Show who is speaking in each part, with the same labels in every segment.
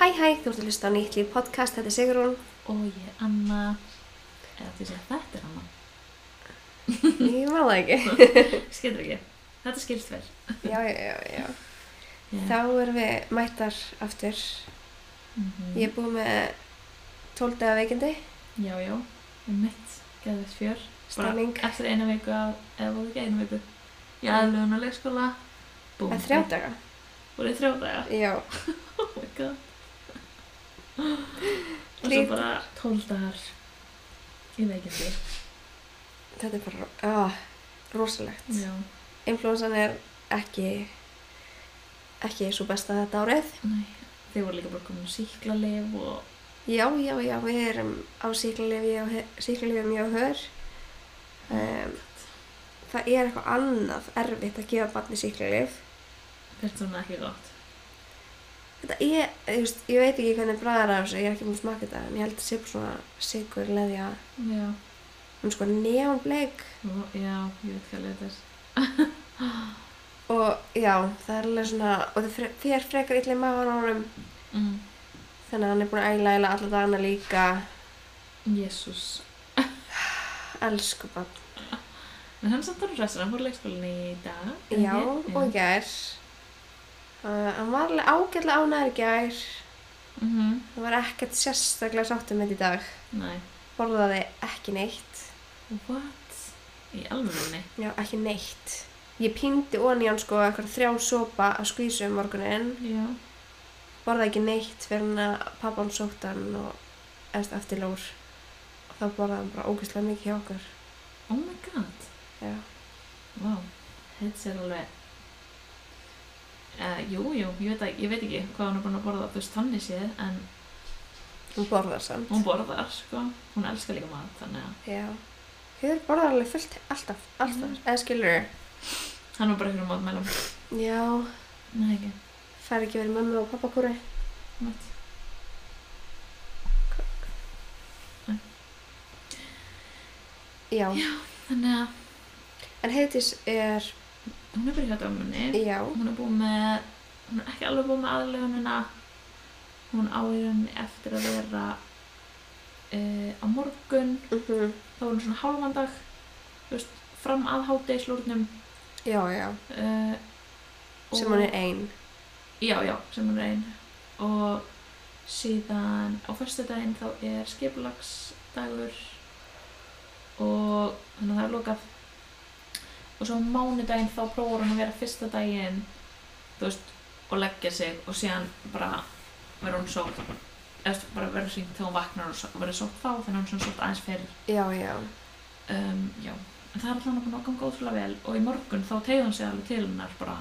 Speaker 1: Hæ hæ, þú ert að hlusta á nýtt líf podcast, þetta er Sigrún.
Speaker 2: og ég er Anna eða því að þetta er Anna
Speaker 1: Ég má það ekki.
Speaker 2: skilur ekki, þetta skilst vel
Speaker 1: já, já, já, já.
Speaker 2: Já.
Speaker 1: Þá erum við mættar aftur.
Speaker 2: Mhm.
Speaker 1: Ég er búið með 12 daga veikindi.
Speaker 2: já, já, um mitt geðveitt fjör, Bara
Speaker 1: Stemming.
Speaker 2: eftir eina viku af, eða voru ekki eina viku í aðlun og leikskóla búm,
Speaker 1: Það er þrjá daga.
Speaker 2: voru í þrjá daga
Speaker 1: Já,
Speaker 2: oh my god og svo
Speaker 1: Lít-
Speaker 2: bara tólf dagar í veikindi
Speaker 1: þetta er bara ah, rosalegt.
Speaker 2: já,
Speaker 1: Influensan er ekki, ekki svo besta þetta árið.
Speaker 2: næ þeir voru líka bara komin síklarleif og
Speaker 1: Já, já, já, við erum á síklarlifi og he- síklarlifi mjög hör. Um, það er eitthvað annað erfitt að gefa barni síklarlif.
Speaker 2: þetta svona ekki gott
Speaker 1: Þetta er, ég, veist, ég veit ekki hvernig bræðar af þessu, ég er ekki búin að smaka þetta, en ég held að sé bara svona sigur leðja,
Speaker 2: já,
Speaker 1: um sko neon bleik
Speaker 2: og, já, ég veit hvað leið þetta er
Speaker 1: og já, það er alveg svona, og það fre- fer frekar illa í maður árum,
Speaker 2: mm.
Speaker 1: þannig að hann er búin að æla æla alla dagana líka,
Speaker 2: jésús
Speaker 1: elsku bann.
Speaker 2: En hann samt alveg hressur, hann fór í leikskólinni í dag. eða
Speaker 1: Já,
Speaker 2: ekki?
Speaker 1: og í gær, uh, hann var alveg ágætlega ánæður í gær,
Speaker 2: Mhm,
Speaker 1: hann var ekkert sérstaklega sáttum með þetta í dag,
Speaker 2: Nei.
Speaker 1: borðaði ekki neitt,
Speaker 2: What? Í alvörunni?
Speaker 1: já, ekki neitt. Ég píndi ofan í hann sko eitthvað þrjá sopa að skvísu um morguninn
Speaker 2: Já.
Speaker 1: borða ekki neitt fyrir hann að pappan sótt hann og eðst eftir lór og þá borða hann bara ógeðslega mikið hjá okkur
Speaker 2: Oh my god.
Speaker 1: já,
Speaker 2: Vá. Wow. Þetta er alveg... Uh, jú, jú, ég veit, að, ég veit ekki hvað hún er búin að borða þú veist þannig séð, en
Speaker 1: hún borðar samt
Speaker 2: hún borðar, sko. Hún elskar líka mat, þannig að
Speaker 1: já, hefur borðar alveg fullt alltaf, alltaf,
Speaker 2: Mm.
Speaker 1: eða skilur
Speaker 2: hann var bara fyrir matmælum.
Speaker 1: já,
Speaker 2: Nei, ekki.
Speaker 1: fær ekki verið mömmu og pappa kúri
Speaker 2: Mat.
Speaker 1: já,
Speaker 2: Þannig að
Speaker 1: en heitis er
Speaker 2: hún er bara hjá dömunni.
Speaker 1: já,
Speaker 2: hún er búin með hún er ekki alveg búin með aðlöfunina hún á í rauninni eftir að vera uh, á morgun
Speaker 1: mm
Speaker 2: þá er hún svona hálfan dag þú veist, fram að hátegislórnum
Speaker 1: já, já
Speaker 2: uh,
Speaker 1: sem hún er ein
Speaker 2: já, já, sem hún er ein og síðan á föstudaginn þá er skipulagsdagur og þannig að það er lokað og svo á mánudaginn þá prófur hann að vera fyrsta daginn þú veist, og leggja sig og síðan bara verður hún sótt eða þú veist, bara verður sínt þegar hún vaknar og svo- verður sótt þá þannig að hún er svona sótt aðeins fyrir
Speaker 1: já, já,
Speaker 2: um, já, en það er alltaf nokkuð nokkuð góðslega vel og í morgun þá tegði hún sig alveg til hennar bara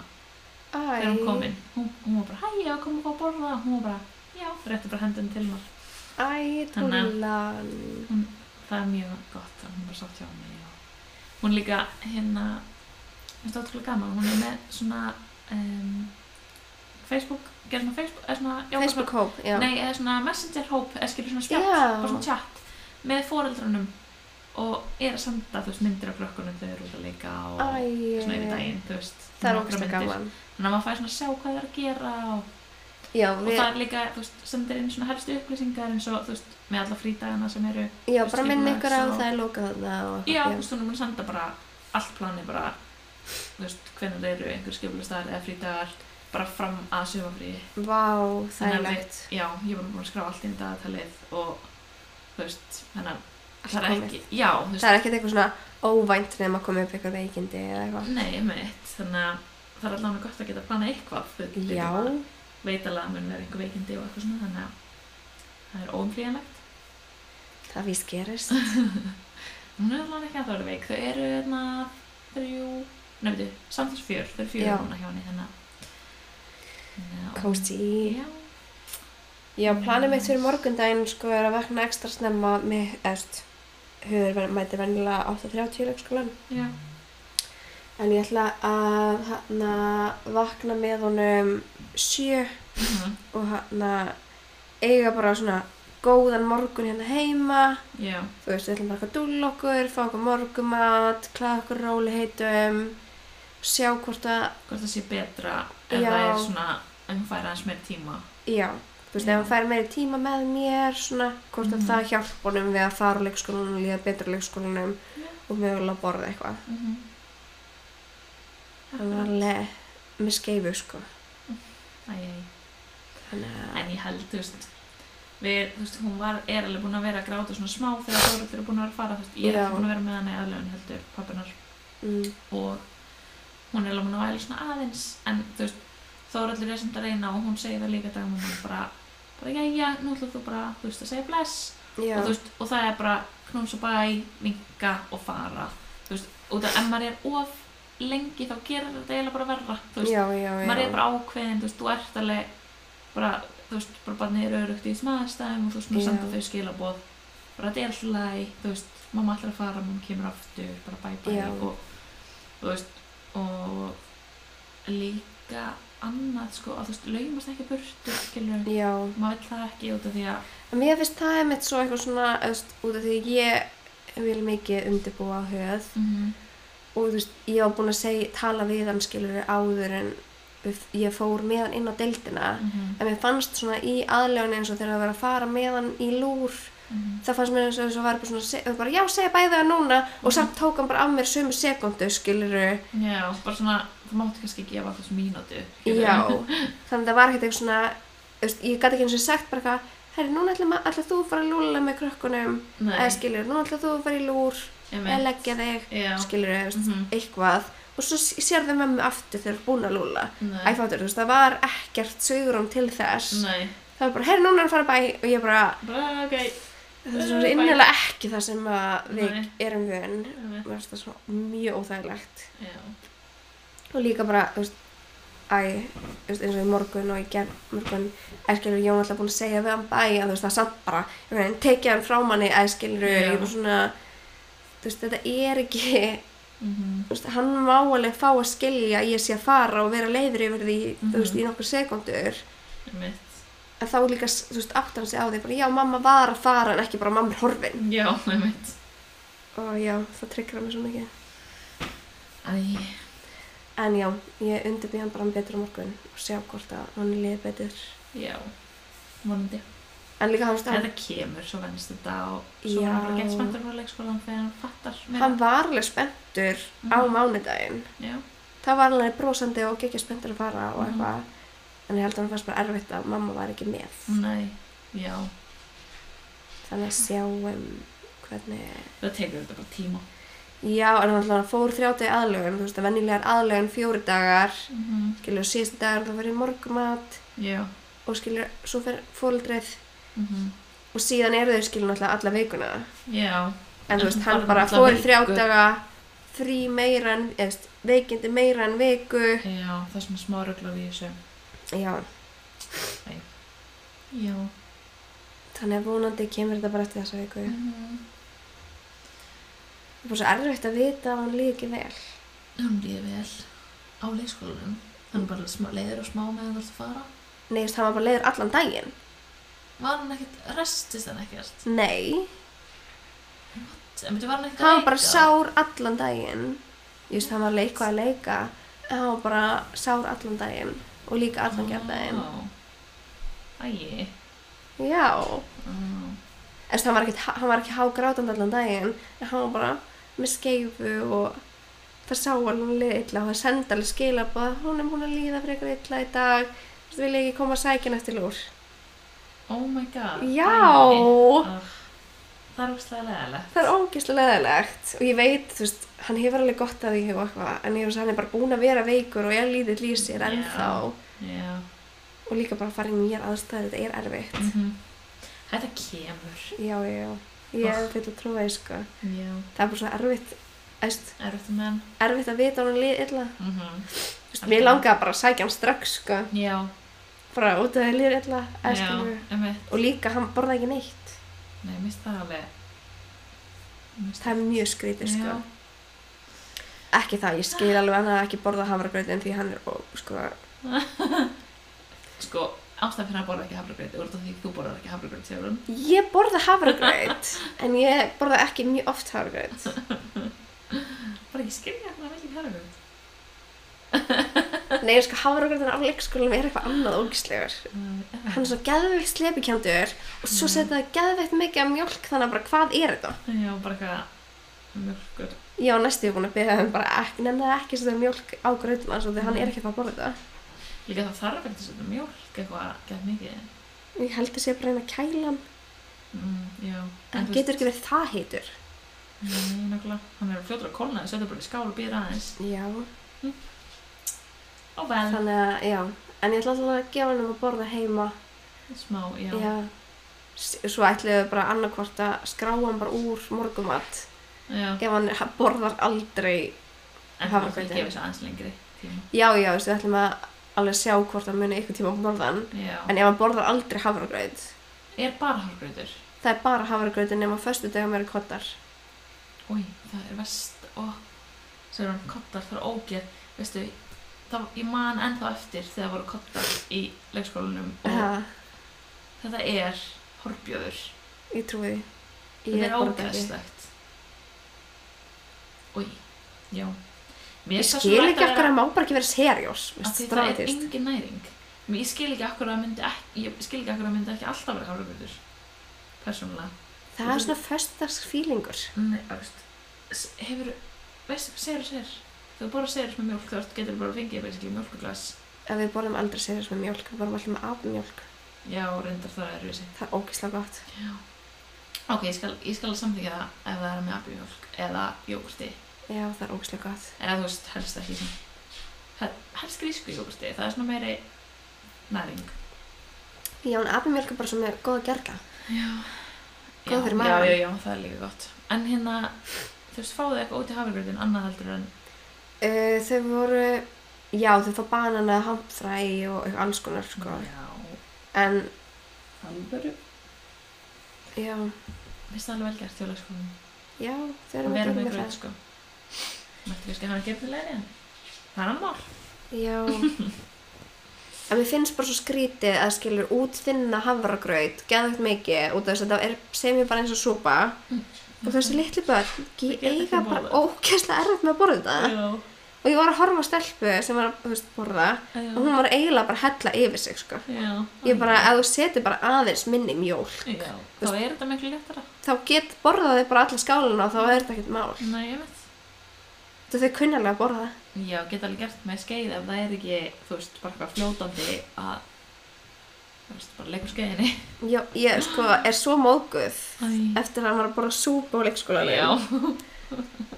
Speaker 1: æ
Speaker 2: þegar hún kom inn hún, hún var bara, hæ, ég var komin að fá að borða hún var bara, já, rétti bara hendun til mér
Speaker 1: æ,
Speaker 2: Þannig að-
Speaker 1: tullan
Speaker 2: hún, það er mjög gott að hún var sátt hjá mig og hún líka hérna þetta er ótrúlega gaman, hún er með svona um, Facebook gerð svona Facebook, eða svona já, bara
Speaker 1: Facebook hóp, já,
Speaker 2: svona, nei, eða svona Messenger hóp eða skilur svona spjátt,
Speaker 1: Já.
Speaker 2: bara svona chat með foreldrunum og er að senda, þú veist, myndir af krökkunum þau eru út að leika og svona yfir
Speaker 1: æ
Speaker 2: daginn, þú veist
Speaker 1: það er
Speaker 2: nokkrar
Speaker 1: ógeðslega
Speaker 2: myndir.
Speaker 1: gaman
Speaker 2: þannig að maður fær svona að sjá hvað það er að gera og
Speaker 1: já,
Speaker 2: og
Speaker 1: við,
Speaker 2: það er líka, þú veist, sendir inn svona helstu upplýsingar eins og, þú veist, með alla frítagana sem eru
Speaker 1: Já, bara
Speaker 2: Skipulags
Speaker 1: minn ykkur á
Speaker 2: og-
Speaker 1: það er lokað þarna og
Speaker 2: sko. já, þú veist, hún er búin að senda bara allt planið bara, þú veist, hvernig það eru einhver skipulastar eða frítagar bara fram að sömafríi
Speaker 1: Vá,
Speaker 2: Þannig að við-
Speaker 1: þægilegt.
Speaker 2: já, ég var búin að skrá allt inn í dagatalið og, þú veist, þannig að
Speaker 1: Allt
Speaker 2: það er
Speaker 1: komið.
Speaker 2: ekki, já, þú
Speaker 1: Það er ekkert eitthvað svona óvænt nefn að koma upp eitthvað veikindi eða eitthvað.
Speaker 2: nei, mitt, þannig að það er allavega gott að geta planað eitthvað við- við
Speaker 1: Já,
Speaker 2: bara veit alveg að mun vera einhver veikindi og eitthvað svona, þannig að það er óumflýjanlegt
Speaker 1: það víst gerist.
Speaker 2: Hún er alveg ekki að það eru veik. Þau eru hérna þrjú, nefndu, samtals fjör. Þau eru fjör
Speaker 1: Já.
Speaker 2: núna hjá henni þannig að... Þannig að-
Speaker 1: Kósi.
Speaker 2: Já.
Speaker 1: Já, planið mitt fyrir morgundaginn sko er að vakna ekstra snemma með, eðst, höfur ven- mæti venjulega 8.30 í leikskólan.
Speaker 2: Já.
Speaker 1: En ég ætla að hana, vakna með honum 7
Speaker 2: mhm,
Speaker 1: og hana, eiga bara svona góðan morgun hérna heima.
Speaker 2: Já.
Speaker 1: þú veist, við ætlum bara eitthvað að dúlla okkur, fá okkur morgumat, klæða okkur róli heitum, sjá hvort að,
Speaker 2: Hvort það sé betra ef
Speaker 1: Já.
Speaker 2: það er svona, ef hún fær aðeins meir tíma.
Speaker 1: já, þú veist, ef hann fær meiri tíma með mér svona, hvort að
Speaker 2: Mhm.
Speaker 1: það hjálp honum við að fara á leikskólanum, líða betur á leikskólanum
Speaker 2: Já.
Speaker 1: og mögulega borða eitthvað
Speaker 2: Mhm.
Speaker 1: hann var alveg með skeifu sko
Speaker 2: Æ, æ, æ.
Speaker 1: þannig að
Speaker 2: En ég held, þú veist, við, þú veist, hún var, er alveg búin að vera að gráta svona smá þegar Þóruldur er búin að vera að fara, þú veist, ég er
Speaker 1: Já.
Speaker 2: ekki búin að vera með hana í aðlöfun heldur, pappinar,
Speaker 1: mm,
Speaker 2: og hún er alveg búin að væla svona aðeins, en þú veist, Þóruldur er samt að reyna og hún segir það líka dagum og hún bara, bara, jæja, nú ætlar þú bara, þú veist, að segja bless,
Speaker 1: já,
Speaker 2: og þú veist, og það er bara knús og bæ, vinka og fara, þú veist, út af, ef maður er of lengi þá gerir þetta eiginlega bara verra, þú veist,
Speaker 1: já, já, já
Speaker 2: maður er bara ákveðin, þú veist, þú ert alveg bara, þú veist, bara barnið er örugt í þessum aðstæðum og þú veist, maður
Speaker 1: Já.
Speaker 2: senda þau skilaboð bara þetta er alltaf læg, þú veist, mamma ætlar að fara mamma kemur aftur, bara bæ bæ
Speaker 1: Já.
Speaker 2: og þú veist, og líka annað, sko, að þú veist, laumast ekki burtu, skilur,
Speaker 1: já,
Speaker 2: maður vill það ekki út af því að
Speaker 1: en mér finnst það er mitt svo eitthvað svona þú veist, út af því ég vil mikið undirbúa höð
Speaker 2: mhm,
Speaker 1: og þú veist, ég var búin að segja, tala við hann skilur áður en við- ég fór með hann inn á deildina
Speaker 2: mhm,
Speaker 1: en mér fannst svona í aðlögun eins og þegar það var að fara með hann í lúr
Speaker 2: mhm,
Speaker 1: það fannst mér eins og þess að var bara svona se- bara, já, segja bæði það núna og samt tók hann bara af mér sömu sekundu, skiluru
Speaker 2: já, bara svona, þú mátt kannski gefa þessu mínútu,
Speaker 1: já, þannig að það var ekkert eitthvað svona þú veist, ég gæti ekki eins og sagt bara eitthvað herri, núna ætla, ætla þú að fara að lúla með krökkunum eða
Speaker 2: nei,
Speaker 1: skiluru, núna ætla þú að fara í lúr eða
Speaker 2: emi,
Speaker 1: leggja þig,
Speaker 2: já,
Speaker 1: skiluru þú veist,
Speaker 2: mhm,
Speaker 1: eitthvað og svo sér þau með mig aftur þegar þú ert búin að lúla
Speaker 2: nei,
Speaker 1: æfáttur, þú veist, það var ekkert sögurum til þess
Speaker 2: nei,
Speaker 1: það var bara, herri, núna er hann að fara í bæ og ég bara,
Speaker 2: bara, ok,
Speaker 1: það er svona innilega ekki það sem að við
Speaker 2: Nei.
Speaker 1: erum vön
Speaker 2: emi,
Speaker 1: mér finnst það svona mjög óþægilegt
Speaker 2: já,
Speaker 1: og líka bara, þú veist, æ þú veist, eins og í morgun og í gerðmorgun æskilur, ég var alltaf búin að segja við hann bæ að þú veist, það samt bara, ég veginn, tekið hann frá manni æskilur,
Speaker 2: Já.
Speaker 1: ég var svona þú veist, þetta er ekki þú
Speaker 2: mhm,
Speaker 1: veist, hann má alveg fá að skilja að ég sé að fara og vera leiður yfir því,
Speaker 2: Mhm.
Speaker 1: þú veist, í nokkur sekundur
Speaker 2: Mitt.
Speaker 1: en þá líka, þú veist, áttar hann sig á því bara, já, mamma var að fara en ekki bara mamma er horfin
Speaker 2: Já, mitt.
Speaker 1: og já, það tryggra mig svo mikið
Speaker 2: Æ,
Speaker 1: En já, ég undirbý hann bara um betur á morgun og sjá hvort að hann liði betur.
Speaker 2: já. Vonandi.
Speaker 1: En líka hann
Speaker 2: Þetta
Speaker 1: stað,
Speaker 2: kemur svo vennst þetta og svo er hann bara
Speaker 1: Já.
Speaker 2: gett spenntur frá leikskólan sko, þegar hann fattar meira.
Speaker 1: hann var alveg spenntur á
Speaker 2: Mhm.
Speaker 1: mánudaginn.
Speaker 2: Já,
Speaker 1: Það var alveg brosandi og gekkja spenntur að fara
Speaker 2: Mhm.
Speaker 1: og eitthvað. En ég held að hann fannst bara erfitt að mamma var ekki með.
Speaker 2: nei, já.
Speaker 1: Þannig að sjáum hvernig...
Speaker 2: Það tekur þetta bara tíma.
Speaker 1: Já, en hann hann fór þrjátið aðlögun, þú veist að venjulegar aðlögun fjóri dagar,
Speaker 2: Mm
Speaker 1: skilur síðustu dagar það fyrir morgumat
Speaker 2: Já.
Speaker 1: og skilur svo fyrir fóldreið
Speaker 2: Mm
Speaker 1: og síðan eru þau skilur náttúrulega alla vikuna.
Speaker 2: Já.
Speaker 1: en þú veist,
Speaker 2: En
Speaker 1: hann
Speaker 2: bara
Speaker 1: bara
Speaker 2: alla
Speaker 1: fór í þrjá
Speaker 2: viku.
Speaker 1: daga frí meira en, eða, þú veist, veikindi meira en viku
Speaker 2: Já, það er svona smá röglar í þessu.
Speaker 1: já,
Speaker 2: Já.
Speaker 1: þannig að vonandi kemur þetta bara eftir þessa viku
Speaker 2: Mm
Speaker 1: það er bara svo erfitt að vita að hann líði ekki vel
Speaker 2: Hún líði vel á leikskólanum. Hann er bara smá, leiður og smá meðan þú ert að fara.
Speaker 1: nei, þú veist, hann var bara leiður allan daginn
Speaker 2: Var hann ekkert, restist hann ekkert?
Speaker 1: nei,
Speaker 2: En betur var hann ekkert
Speaker 1: hann var bara
Speaker 2: leika?
Speaker 1: sár allan daginn ég veist, hann var leikvað að leika en hann var bara sár allan daginn og líka allan gerðdaginn
Speaker 2: Æi.
Speaker 1: já, en
Speaker 2: Mm.
Speaker 1: þú veist, hann var ekki, hann var ekki hágrátandi allan daginn en hann var bara með skeifu og það sá alveg hún liði illa og það sendi alveg skilabóð að hún er búin að líða frekar illa í dag þú veist, vil ég ekki koma að sækja hann eftir lúr
Speaker 2: Oh my god. Æi.
Speaker 1: já,
Speaker 2: Ah, Það er ógstlega leðilegt.
Speaker 1: það er ógeðslega leðilegt og ég veit, þú veist, hann hefur alveg gott að því og eitthvað, en ég veist, hann er bara búin að vera veikur og ég líðið lýsir
Speaker 2: Já.
Speaker 1: ennþá
Speaker 2: Já.
Speaker 1: og líka bara að fara í nýjar aðstæður, þetta er erfitt
Speaker 2: mhm. Þetta kemur.
Speaker 1: já, já, já, ég hef fyrir að trúa því sko.
Speaker 2: Já.
Speaker 1: það er bara svo erfitt Æst,
Speaker 2: Erfitt um enn.
Speaker 1: erfitt að vita að hann liði illa
Speaker 2: Mhm.
Speaker 1: Þú veist, mér langaði bara að sækja hann strax sko.
Speaker 2: Já.
Speaker 1: bara út af því liður illa eða
Speaker 2: Já.
Speaker 1: skilurðu.
Speaker 2: Emitt.
Speaker 1: og líka hann borða ekki neitt
Speaker 2: Nei, mist það alveg. Mist
Speaker 1: það er mjög skrítið sko
Speaker 2: Já.
Speaker 1: ekki það, ég skil alveg hann að ekki borða hafragrautin því hann er ó, sko,
Speaker 2: Sko, ástæðan fyrir að borða ekki hafragraut er út af því þú borðar ekki hafragraut, segir hún.
Speaker 1: ég borða hafragraut en ég borða ekki mjög oft hafragraut
Speaker 2: hérna, Bara ekki skilja hvað það er ekki hafragraut.
Speaker 1: Nei, sko, hafragröðin af leikskólanum er eitthvað annað ógislegur. Hann er svo geðveikt slepikjöndur og svo setja það geðveikt mikið af mjólk þannig að bara hvað er þetta?
Speaker 2: Já, bara eitthvað mjölkur.
Speaker 1: Ég var næstu búin að byrja þeim bara ekki, nefnir ekki að setja mjölk á gröðina svo því hann er ekki að fara að borða þetta.
Speaker 2: Líka það þarf ekkert að setja mjölk eitthvað gett mikið.
Speaker 1: Ég held að sé bara að reyna að kæla hann.
Speaker 2: Mm, já.
Speaker 1: En
Speaker 2: þú
Speaker 1: getur ekki verið það heitur.
Speaker 2: veist- Nei, nokkulega. Hann er fljótur að kólna, setja bara í skál og býra aðeins.
Speaker 1: Já.
Speaker 2: Ó, vel.
Speaker 1: Þannig að, já. En ég ætla alltaf að gefa hann að borða heima.
Speaker 2: Smá, já.
Speaker 1: Já. S- Svo ætlum við bara annarkvort að skrá hann bara úr morgumat
Speaker 2: já.
Speaker 1: ef hann ha- borðar aldrei
Speaker 2: En það var
Speaker 1: Hafragraut,
Speaker 2: hvað
Speaker 1: já.
Speaker 2: gefa sér aðeins lengri tíma.
Speaker 1: Já, já, þú veist, við ætlum að alveg sjá hvort hann muni ykkur tíma á morðan
Speaker 2: Já.
Speaker 1: en ef hann borðar aldrei hafragraut
Speaker 2: er bara hafragrautur.
Speaker 1: það er bara hafragrautin nema föstu dagum eru kottar
Speaker 2: Új, það er vest og svo er hann kottar, það er ógeð. Veistu, það, ég man ennþá eftir þegar voru kottar í leikskólanum og
Speaker 1: ha,
Speaker 2: þetta er horbjöður.
Speaker 1: ég trúi því
Speaker 2: Þetta er
Speaker 1: borða ekki.
Speaker 2: ógeðslegt. Új, já. Mér
Speaker 1: Ég
Speaker 2: finnst það
Speaker 1: skil
Speaker 2: svona
Speaker 1: ekki
Speaker 2: ætti að
Speaker 1: okkur
Speaker 2: vera-
Speaker 1: að má bara ekki vera serjós
Speaker 2: af því það er
Speaker 1: dramatist
Speaker 2: engin næring. Mér ég skil ekki okkur að myndi ekki, ég skil ekki okkur að myndi ekki alltaf vera hafragrautur. Persónulega.
Speaker 1: Það er svona föstudags fílingur
Speaker 2: Nei, þú veist, s- hefur, veistu hvað serur er? Þú borðar serur með mjólk, þú ert- getur bara að fengið basically mjólkuglas.
Speaker 1: ef við borðum aldrei serjós með mjólk við borðum alltaf með afmjólk
Speaker 2: Já, reyndar það er vissi.
Speaker 1: það er ógislega gott
Speaker 2: Ok, ég skal, ég skal samþykja það ef það er með abimjólk eða jógurti.
Speaker 1: Já, það er ógislega gott
Speaker 2: Eða þú veist, helst ekki sem, hel- helst grísku jógurti, það er svona meiri næring.
Speaker 1: Já, en afmjólk er bara svona með góða gerla
Speaker 2: Já.
Speaker 1: Góð fyrir
Speaker 2: Já,
Speaker 1: magann.
Speaker 2: já, já, það er líka gott. En hérna, þú veist, fáðu eitthvað út í hafirgröðin annað heldur en,
Speaker 1: uh, Þau voru Já, þau fá banana, hamfræi og eitthvað alls konar sko.
Speaker 2: já,
Speaker 1: en
Speaker 2: alveg,
Speaker 1: Já,
Speaker 2: finnst það alveg vel gert þjóðlagskonum.
Speaker 1: já, þau
Speaker 2: að
Speaker 1: erum
Speaker 2: vera með
Speaker 1: með
Speaker 2: gröð
Speaker 1: það.
Speaker 2: sko Mættu kannski að hafa gefið leiðin Það er annar mál
Speaker 1: Já. en mér finnst bara svo skrítið að skilur útþinna hafragraut, geðvægt mikið, út af þess að það er sem ég bara eins og súpa og þessi litli börn,
Speaker 2: Þau
Speaker 1: ég
Speaker 2: geta
Speaker 1: eiga
Speaker 2: ekki
Speaker 1: bara
Speaker 2: borðað.
Speaker 1: ókesslega erfitt með að borða þetta.
Speaker 2: Já,
Speaker 1: Og ég var að horfa á stelpu sem var að, þú veist, borða
Speaker 2: Já.
Speaker 1: og hún var eiginlega bara að hella yfir sig, sko.
Speaker 2: já
Speaker 1: Ég bara, ef þú setur bara aðeins minni mjól,
Speaker 2: Já, þá er þetta miklu léttara
Speaker 1: þá get borðaði bara alla skáluna og þá er þetta ekkert mál.
Speaker 2: Nei, ég veit
Speaker 1: Þetta þau kunnalega að borða það.
Speaker 2: Já, geta alveg gert með skeið ef það er ekki, þú veist, bara eitthvað fljótandi að þú veist, bara leikur skeiðinni
Speaker 1: Já, ég sko er svo móguð
Speaker 2: Æ.
Speaker 1: eftir að hann var bara súpa á
Speaker 2: Já
Speaker 1: leikskólanum.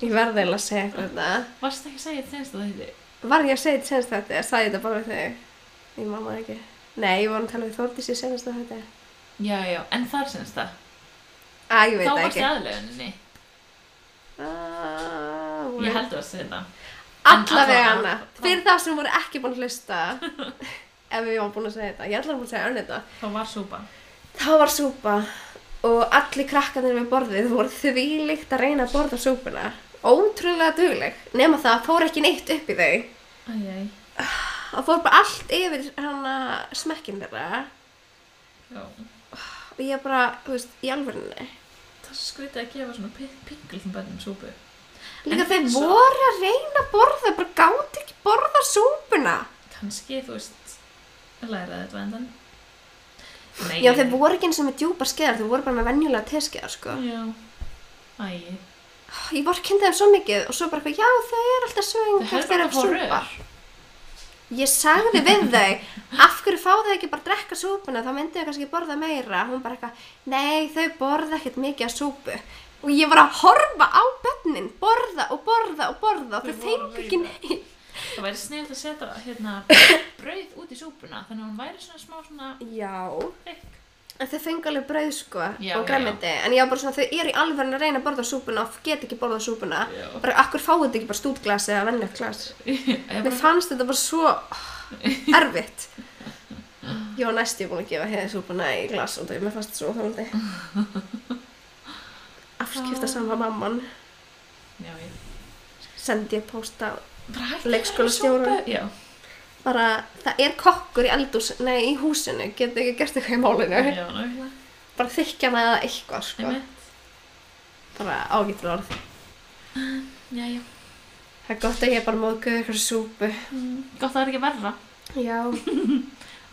Speaker 1: Ég verði eiginlega að segja eitthvað þetta.
Speaker 2: Varst ekki að segja þetta senst að það heiti?
Speaker 1: Var ég að segja þetta senast þetta? Ég sagði þetta bara við þig. Ég mamma það ekki. Nei, ég var að tala við Þórdís í senast þetta.
Speaker 2: Já, já, en þar senst það
Speaker 1: Æ, ég veit
Speaker 2: Þá
Speaker 1: það
Speaker 2: varst
Speaker 1: ekki.
Speaker 2: það aðlöðinni
Speaker 1: Ah,
Speaker 2: Ég
Speaker 1: voru-
Speaker 2: held að segja þetta
Speaker 1: Allavega
Speaker 2: allavega.
Speaker 1: hana. Fyrir þá sem voru ekki búin að hlusta. ef við varum búin að segja þetta. Ég ætlaði búin að segja önn þetta.
Speaker 2: Þá var súpa
Speaker 1: Þá var súpa og allir krakkarnir við borðið voru þvílíkt að reyna að borða súpuna. Ótrúlega dugleg. Nefna það fór ekki neitt upp í þau.
Speaker 2: Æjæj
Speaker 1: Það fór bara allt yfir hana smekkinn þeirra
Speaker 2: Já
Speaker 1: og ég bara, þú veist, í alvörinni.
Speaker 2: Það er svo skrítið að gefa svona pi- pingul sem bennum súpu
Speaker 1: Líka
Speaker 2: En
Speaker 1: þeir
Speaker 2: svo-
Speaker 1: voru að reyna að borða, bara gáti ekki borða súpuna.
Speaker 2: kannski, þú veist, læra þetta endan. Nei,
Speaker 1: Já, þeir voru ekki eins og með djúpar skeðar, þeir voru bara með venjulega teskeðar, sko.
Speaker 2: Já, æ,
Speaker 1: Ég voru kynntið þeim svo mikið og svo bara eitthvað, já, þau eru alltaf svo
Speaker 2: þau
Speaker 1: engar
Speaker 2: hefur
Speaker 1: þeir
Speaker 2: bara
Speaker 1: eru
Speaker 2: fór
Speaker 1: súpa.
Speaker 2: rör.
Speaker 1: Ég sagði við þau, af hverju fá þau ekki bara að drekka súpuna, þá myndu þau kannski borða meira. Hún bara eitthvað, nei, þau borða ekkert mikið af súpu. Og ég var að horfa á bönnin, borða og borða og borða og þau
Speaker 2: Þau voru
Speaker 1: fengu ekki
Speaker 2: að reyna.
Speaker 1: neitt.
Speaker 2: Það væri snilt að setja hérna brauð út í súpuna, þannig að hún væri svona smá svona
Speaker 1: Já,
Speaker 2: þykk.
Speaker 1: en þau fengu alveg brauð sko
Speaker 2: Já,
Speaker 1: og
Speaker 2: já,
Speaker 1: græmiti, en ég var bara svona þau eru í alveg að reyna að borða súpuna og get ekki borða súpuna
Speaker 2: Já.
Speaker 1: bara akkur fáið þetta ekki bara stútglas eða vennlegt glas
Speaker 2: Ég
Speaker 1: mér
Speaker 2: bara,
Speaker 1: fannst þetta bara svo erfitt ég var næst ég búin að gefa heiði súpuna í glas og þau, mér fannst þetta svo þólandi afskipta sama mamman
Speaker 2: já, ég
Speaker 1: sendi ég pósta
Speaker 2: bara hætti
Speaker 1: Leikskólastjóra.
Speaker 2: Já,
Speaker 1: bara, það er kokkur í eldús nei, í húsinu, getur ekki gert eitthvað í málinu
Speaker 2: já, nákvæmlega.
Speaker 1: bara þykja með það eitthvað sko,
Speaker 2: Einmitt.
Speaker 1: bara ágættur orð
Speaker 2: Já, já.
Speaker 1: Það er gott að ég bara móðguði ykkur súpu.
Speaker 2: Mm. Gott að það er ekki verra.
Speaker 1: Já,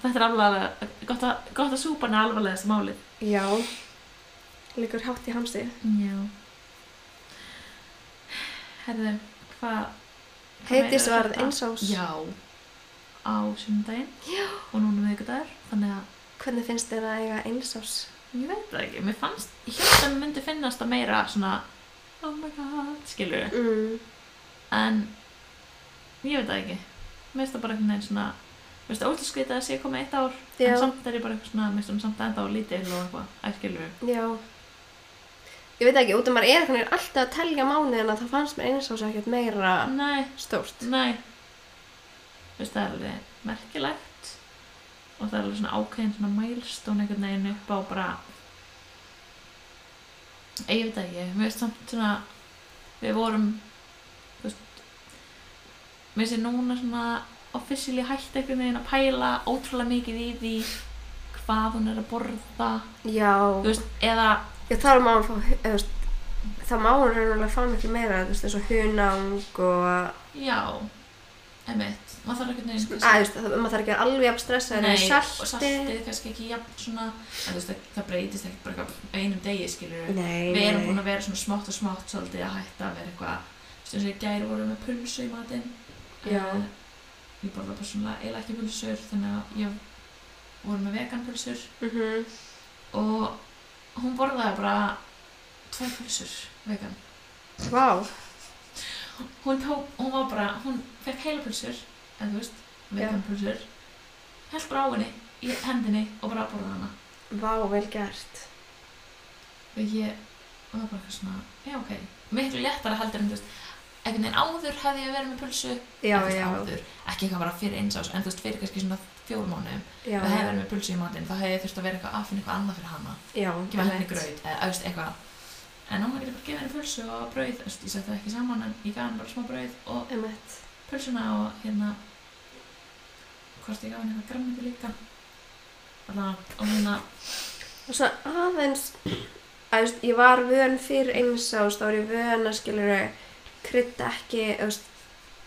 Speaker 2: Þetta er alvarlega, gott að, gott að súpan er alvarlega þessi málið.
Speaker 1: já. Liggur hátt í hamsið.
Speaker 2: Já. Herðu, hvað... hvað
Speaker 1: Heitis
Speaker 2: meira er
Speaker 1: varð
Speaker 2: þetta?
Speaker 1: einsás.
Speaker 2: Já. Á sunnudaginn. Já. Og núna um miðvikudagur, þannig að
Speaker 1: Hvernig finnst þér að eiga einsás?
Speaker 2: Ég veit það ekki, mér fannst, ég held að mér myndi finnast það meira svona Oh my god, skilur
Speaker 1: Mm.
Speaker 2: En, ég veit það ekki Mér finnst það bara einhvern veginn svona Mér finnst það ótrúlega skrítið að sé komið eitt ár
Speaker 1: Já.
Speaker 2: En samt er ég bara eitthvað svona, mér finnst það samt enda á lítið og eitthvað, að skilur
Speaker 1: Já. Ég veit ekki, út af maður er hvernig alltaf að telja mánuðina þá fannst mér einsás ekkert meira
Speaker 2: Nei,
Speaker 1: stórt.
Speaker 2: nei Mér finnst það er alveg merkilegt Og það er alveg svona ákveðin svona mælstón einhvern veginn upp á bara Ég veit það ekki, mér finnst samt svona við vorum þú veist mér sé núna svona officially hætt einhvern veginn að pæla ótrúlega mikið í því hvað hún er að borða
Speaker 1: Já.
Speaker 2: þú veist, eða
Speaker 1: Já, þar má hann fá, eða, þú veist, þá má hann raunverulega fá miklu meira, þú veist, eins og hunang og,
Speaker 2: já emitt, maður þarf einhvern veginn
Speaker 1: að, þú veist, það- maður þarf ekki að vera alveg jafn stressaður
Speaker 2: Nei,
Speaker 1: með
Speaker 2: og
Speaker 1: salti.
Speaker 2: saltið kannski ekki jafn svona en þú veist, það, það breytist ekki bara eitthvað á einum degi skilur
Speaker 1: Nei,
Speaker 2: við erum búin
Speaker 1: nei.
Speaker 2: að vera svona smátt og smátt svolítið að hætta að vera eitthvað þú veist, eins og í gær vorum við með pulsu í matinn
Speaker 1: Já.
Speaker 2: Eh, ég borða persónulega eiginlega ekki pulsur þannig að ég vorum með vegan pulsur
Speaker 1: Mhm.
Speaker 2: og hún borðaði bara tvær pulsur vegan
Speaker 1: Vá.
Speaker 2: hún, tók, hún var bara, hún fekk heila pulsur en þú veist, vegan pulsur held bara á henni, í hendinni og bara borðaði hana
Speaker 1: Vá, vel gert.
Speaker 2: og ég var bara eitthvað svona, já ok miklu léttara heldur en þú veist einhvern veginn áður hefði ég verið með pulsu
Speaker 1: Já,
Speaker 2: Eða, þú veist,
Speaker 1: já,
Speaker 2: áður, ekki eitthvað bara fyrir einsás en þú veist fyrir kannski svona fjórum mánuðum
Speaker 1: já,
Speaker 2: það hefði verið með pulsu í matinn, þá hefði ég þurft að vera eitthvað að finna eitthvað annað fyrir hana
Speaker 1: já,
Speaker 2: gefa henni
Speaker 1: einmitt.
Speaker 2: gröð eða þú veist, eitthvað en hún getur bara gefa henni pulsu og brauð þú veist, ég setti það ekki saman en ég gaf henni bara smá brauð og
Speaker 1: Einmitt.
Speaker 2: pulsuna og hérna hvort ég gaf henni eitthvað græmiti líka Alla, og hérna
Speaker 1: Og svona aðeins, að, þú veist, ég var vön fyrir einsás, þá var ég vön að, skilur, krydda ekki, þú veist,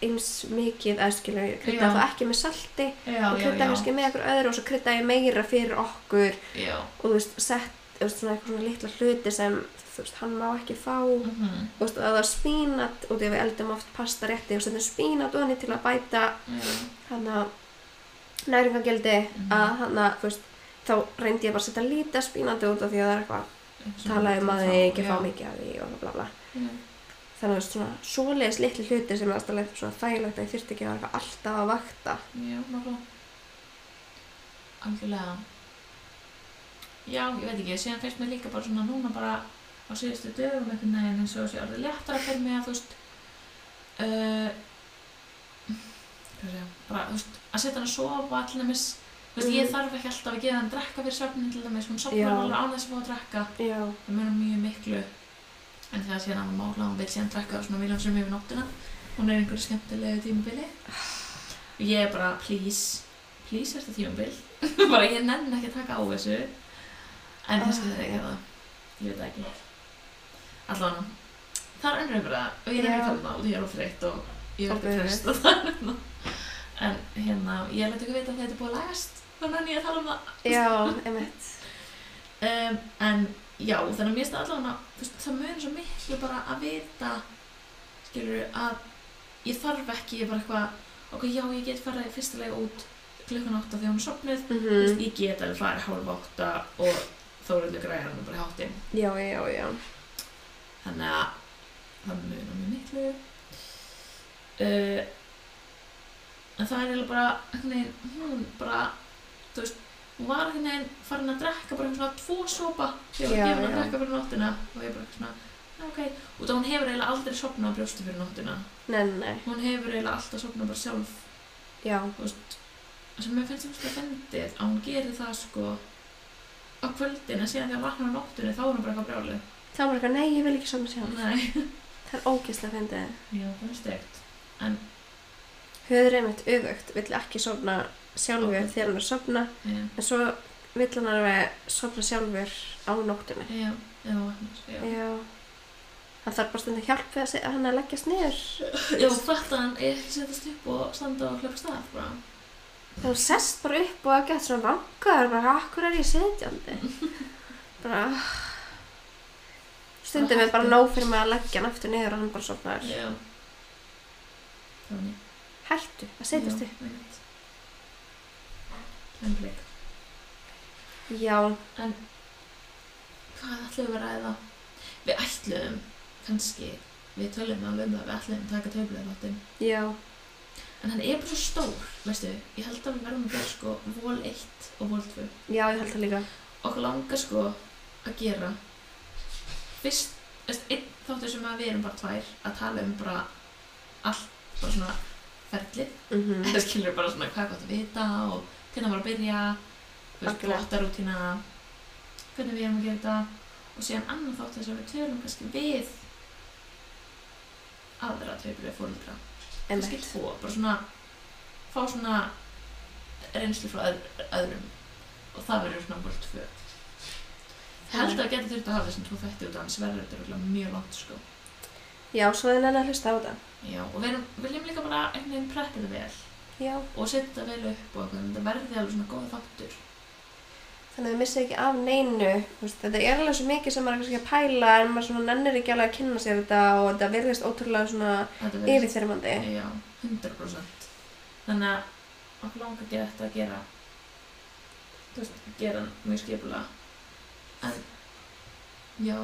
Speaker 1: eins mikið að, skilur, krydda
Speaker 2: Já.
Speaker 1: þá ekki með salti.
Speaker 2: já,
Speaker 1: og krydda kannski með einhver öðru og svo krydda ég meira fyrir okkur
Speaker 2: já,
Speaker 1: og þú veist, sett þú veist, svona eitthvað svona litla hluti sem þú veist, hann má ekki fá og
Speaker 2: mhm,
Speaker 1: þú veist, að það var spínat og því að við eldum oft pasta rétti og setjum spínat onni til að bæta
Speaker 2: já,
Speaker 1: hann að næringangildi
Speaker 2: Mhm.
Speaker 1: að hann að þú veist, þá reyndi ég bara að setja lítið spínati út af því að það er eitthvað
Speaker 2: Svona
Speaker 1: talað um að
Speaker 2: til
Speaker 1: þið
Speaker 2: þá,
Speaker 1: ekki
Speaker 2: já,
Speaker 1: fá mikið af því og bla bla
Speaker 2: já,
Speaker 1: þannig að þú veist, svona svoleiðis litli hluti sem er alltaf svona þægilegt að ég þyrfti ekki að vera eitthvað alltaf að vakta
Speaker 2: já, nákvæmlega algjörlega já, ég veit ekki, síðan finnst mér líka bara svona núna bara á síðustu dögum einhvern veginn eins og sé orðið léttara fyrir mig að þú veist uh, hvað segja, bara þú veist að setja hann að sofa til dæmis þú veist, ég
Speaker 1: Mhm.
Speaker 2: þarf ekki alltaf að gefa hann drekka fyrir svefnin til dæmis, hún sopnar
Speaker 1: Já.
Speaker 2: alveg án þess að fá að drekka
Speaker 1: já,
Speaker 2: það munar mjög miklu en þegar síðan hann mála hún vil síðan drekka svona viljum sem yfir nóttina hún er í einhverju skemmtilegu tímabili og ég er bara please please er þetta tímabil bara ég nenn ekki að taka á þessu en kannski það er ekki það ég veit það ekki allan það er önnur umræða og ég er ekki
Speaker 1: Já.
Speaker 2: að tala um það og ég er of þreytt og ég er
Speaker 1: Og
Speaker 2: ekki
Speaker 1: böðuð.
Speaker 2: tröst og það er hérna en hérna ég læt ykkur vita að þetta er búið að lagast þannig að ég er að tala um það
Speaker 1: já, emitt
Speaker 2: um, en já, þannig að mér finnst allavega þú veist, það mun svo miklu bara að vita skilur að ég þarf ekki, ég bara eitthvað ok, já, ég get farið fyrstilega út klukkan 8 þegar hún er sopnuð
Speaker 1: mm
Speaker 2: Mhm. þú veist, ég get alveg farið hálf 8 og Þóruldur græðar hann bara í háttinn
Speaker 1: já, já, já
Speaker 2: þannig að það munar mjög miklu uh, en það er eiginlega bara einhvern veginn, hún bara þú veist, hún var einhvern veginn farin að drekka bara svona tvo sopa þegar
Speaker 1: Já,
Speaker 2: ég var að
Speaker 1: já.
Speaker 2: drekka fyrir nóttina og ég bara eitthvað svona, "Já, ok og það hún hefur eiginlega aldrei sopnað á brjósti fyrir nóttina
Speaker 1: Nei, nei, nei,
Speaker 2: hún hefur eiginlega alltaf sopnað bara sjálf
Speaker 1: já,
Speaker 2: þú veist, sem mér finnst það fendið að hún gerir það sko á kvöldin en síðan þegar hún vaknar á nóttunni þá er hún bara eitthvað brjálið
Speaker 1: þá var eitthvað, nei, ég vil ekki saman sjá hann.
Speaker 2: Nei.
Speaker 1: Það er ógeðslega fyndið.
Speaker 2: Já, það er stegt.
Speaker 1: Höður einmitt öðugt, vill ekki sofna sjálfur þegar hann er að sofna,
Speaker 2: Já,
Speaker 1: en svo vill hann alveg sofna sjálfur á nóttunni.
Speaker 2: já, já, já.
Speaker 1: Já, hann þarf bara stundum hjálp við að segja hann að leggjast niður
Speaker 2: Já, fattan er ekki setjast upp og standa og hlöpa stað bara.
Speaker 1: þegar hún sest bara upp og að geta svona vangaður bara, akkur er ég setjandi bara "Ah." stundum er bara nóg fyrir mig að leggja hann aftur niður og hann bara sopnar
Speaker 2: Já. Þannig.
Speaker 1: hættu að setjast
Speaker 2: Já, einmitt. Einmitt.
Speaker 1: upp já,
Speaker 2: En hvað ætlum við að ræða? Við ætlum, kannski, við tölum alveg um það, við ætlum að taka töflur þáttum.
Speaker 1: já,
Speaker 2: En hann er bara svo stór, veistu, ég held að við verðum að gera sko vol 1 og vol 2.
Speaker 1: já, ég held það líka
Speaker 2: Okkur langar sko að gera fyrst, veist, einn þáttur sem að við erum bara tvær að tala um bara allt, bara svona ferlið.
Speaker 1: mm
Speaker 2: Það skilur bara svona hvað er gott að vita og hvernig var að byrja, þú veist,
Speaker 1: Algjörlega.
Speaker 2: blottarútína, hvernig við erum að gera þetta og síðan annan þátt þess að við tölum kannski við aðra tveiflega fóröldra, kannski
Speaker 1: Einmitt.
Speaker 2: tvo, bara svona fá svona reynslu frá öð, öðrum og það verður svona bara tvö. Ég held að það geti þurft að hafa þessum tvo þætti út af hans verður þetta örugglega mjög langt sko.
Speaker 1: já, svo þið nenni að hlusta á þetta
Speaker 2: Já, og við erum, viljum líka bara einhvern veginn preppa þetta vel.
Speaker 1: já,
Speaker 2: og setja þetta vel upp og eitthvað, þannig að þetta verði alveg svona góð þáttur.
Speaker 1: þannig að þið missið ekki af neinu þú veist, þetta er alveg svo mikið sem maður er kannski að pæla en maður svona nennir ekki alveg að kynna sér þetta og þetta virðist ótrúlega svona
Speaker 2: Þetta verði-
Speaker 1: yfirþyrmandi
Speaker 2: Já, 100%. Þannig að okkur langar að gera þetta að gera, þú veist, gera hann mjög skipulega. En, já,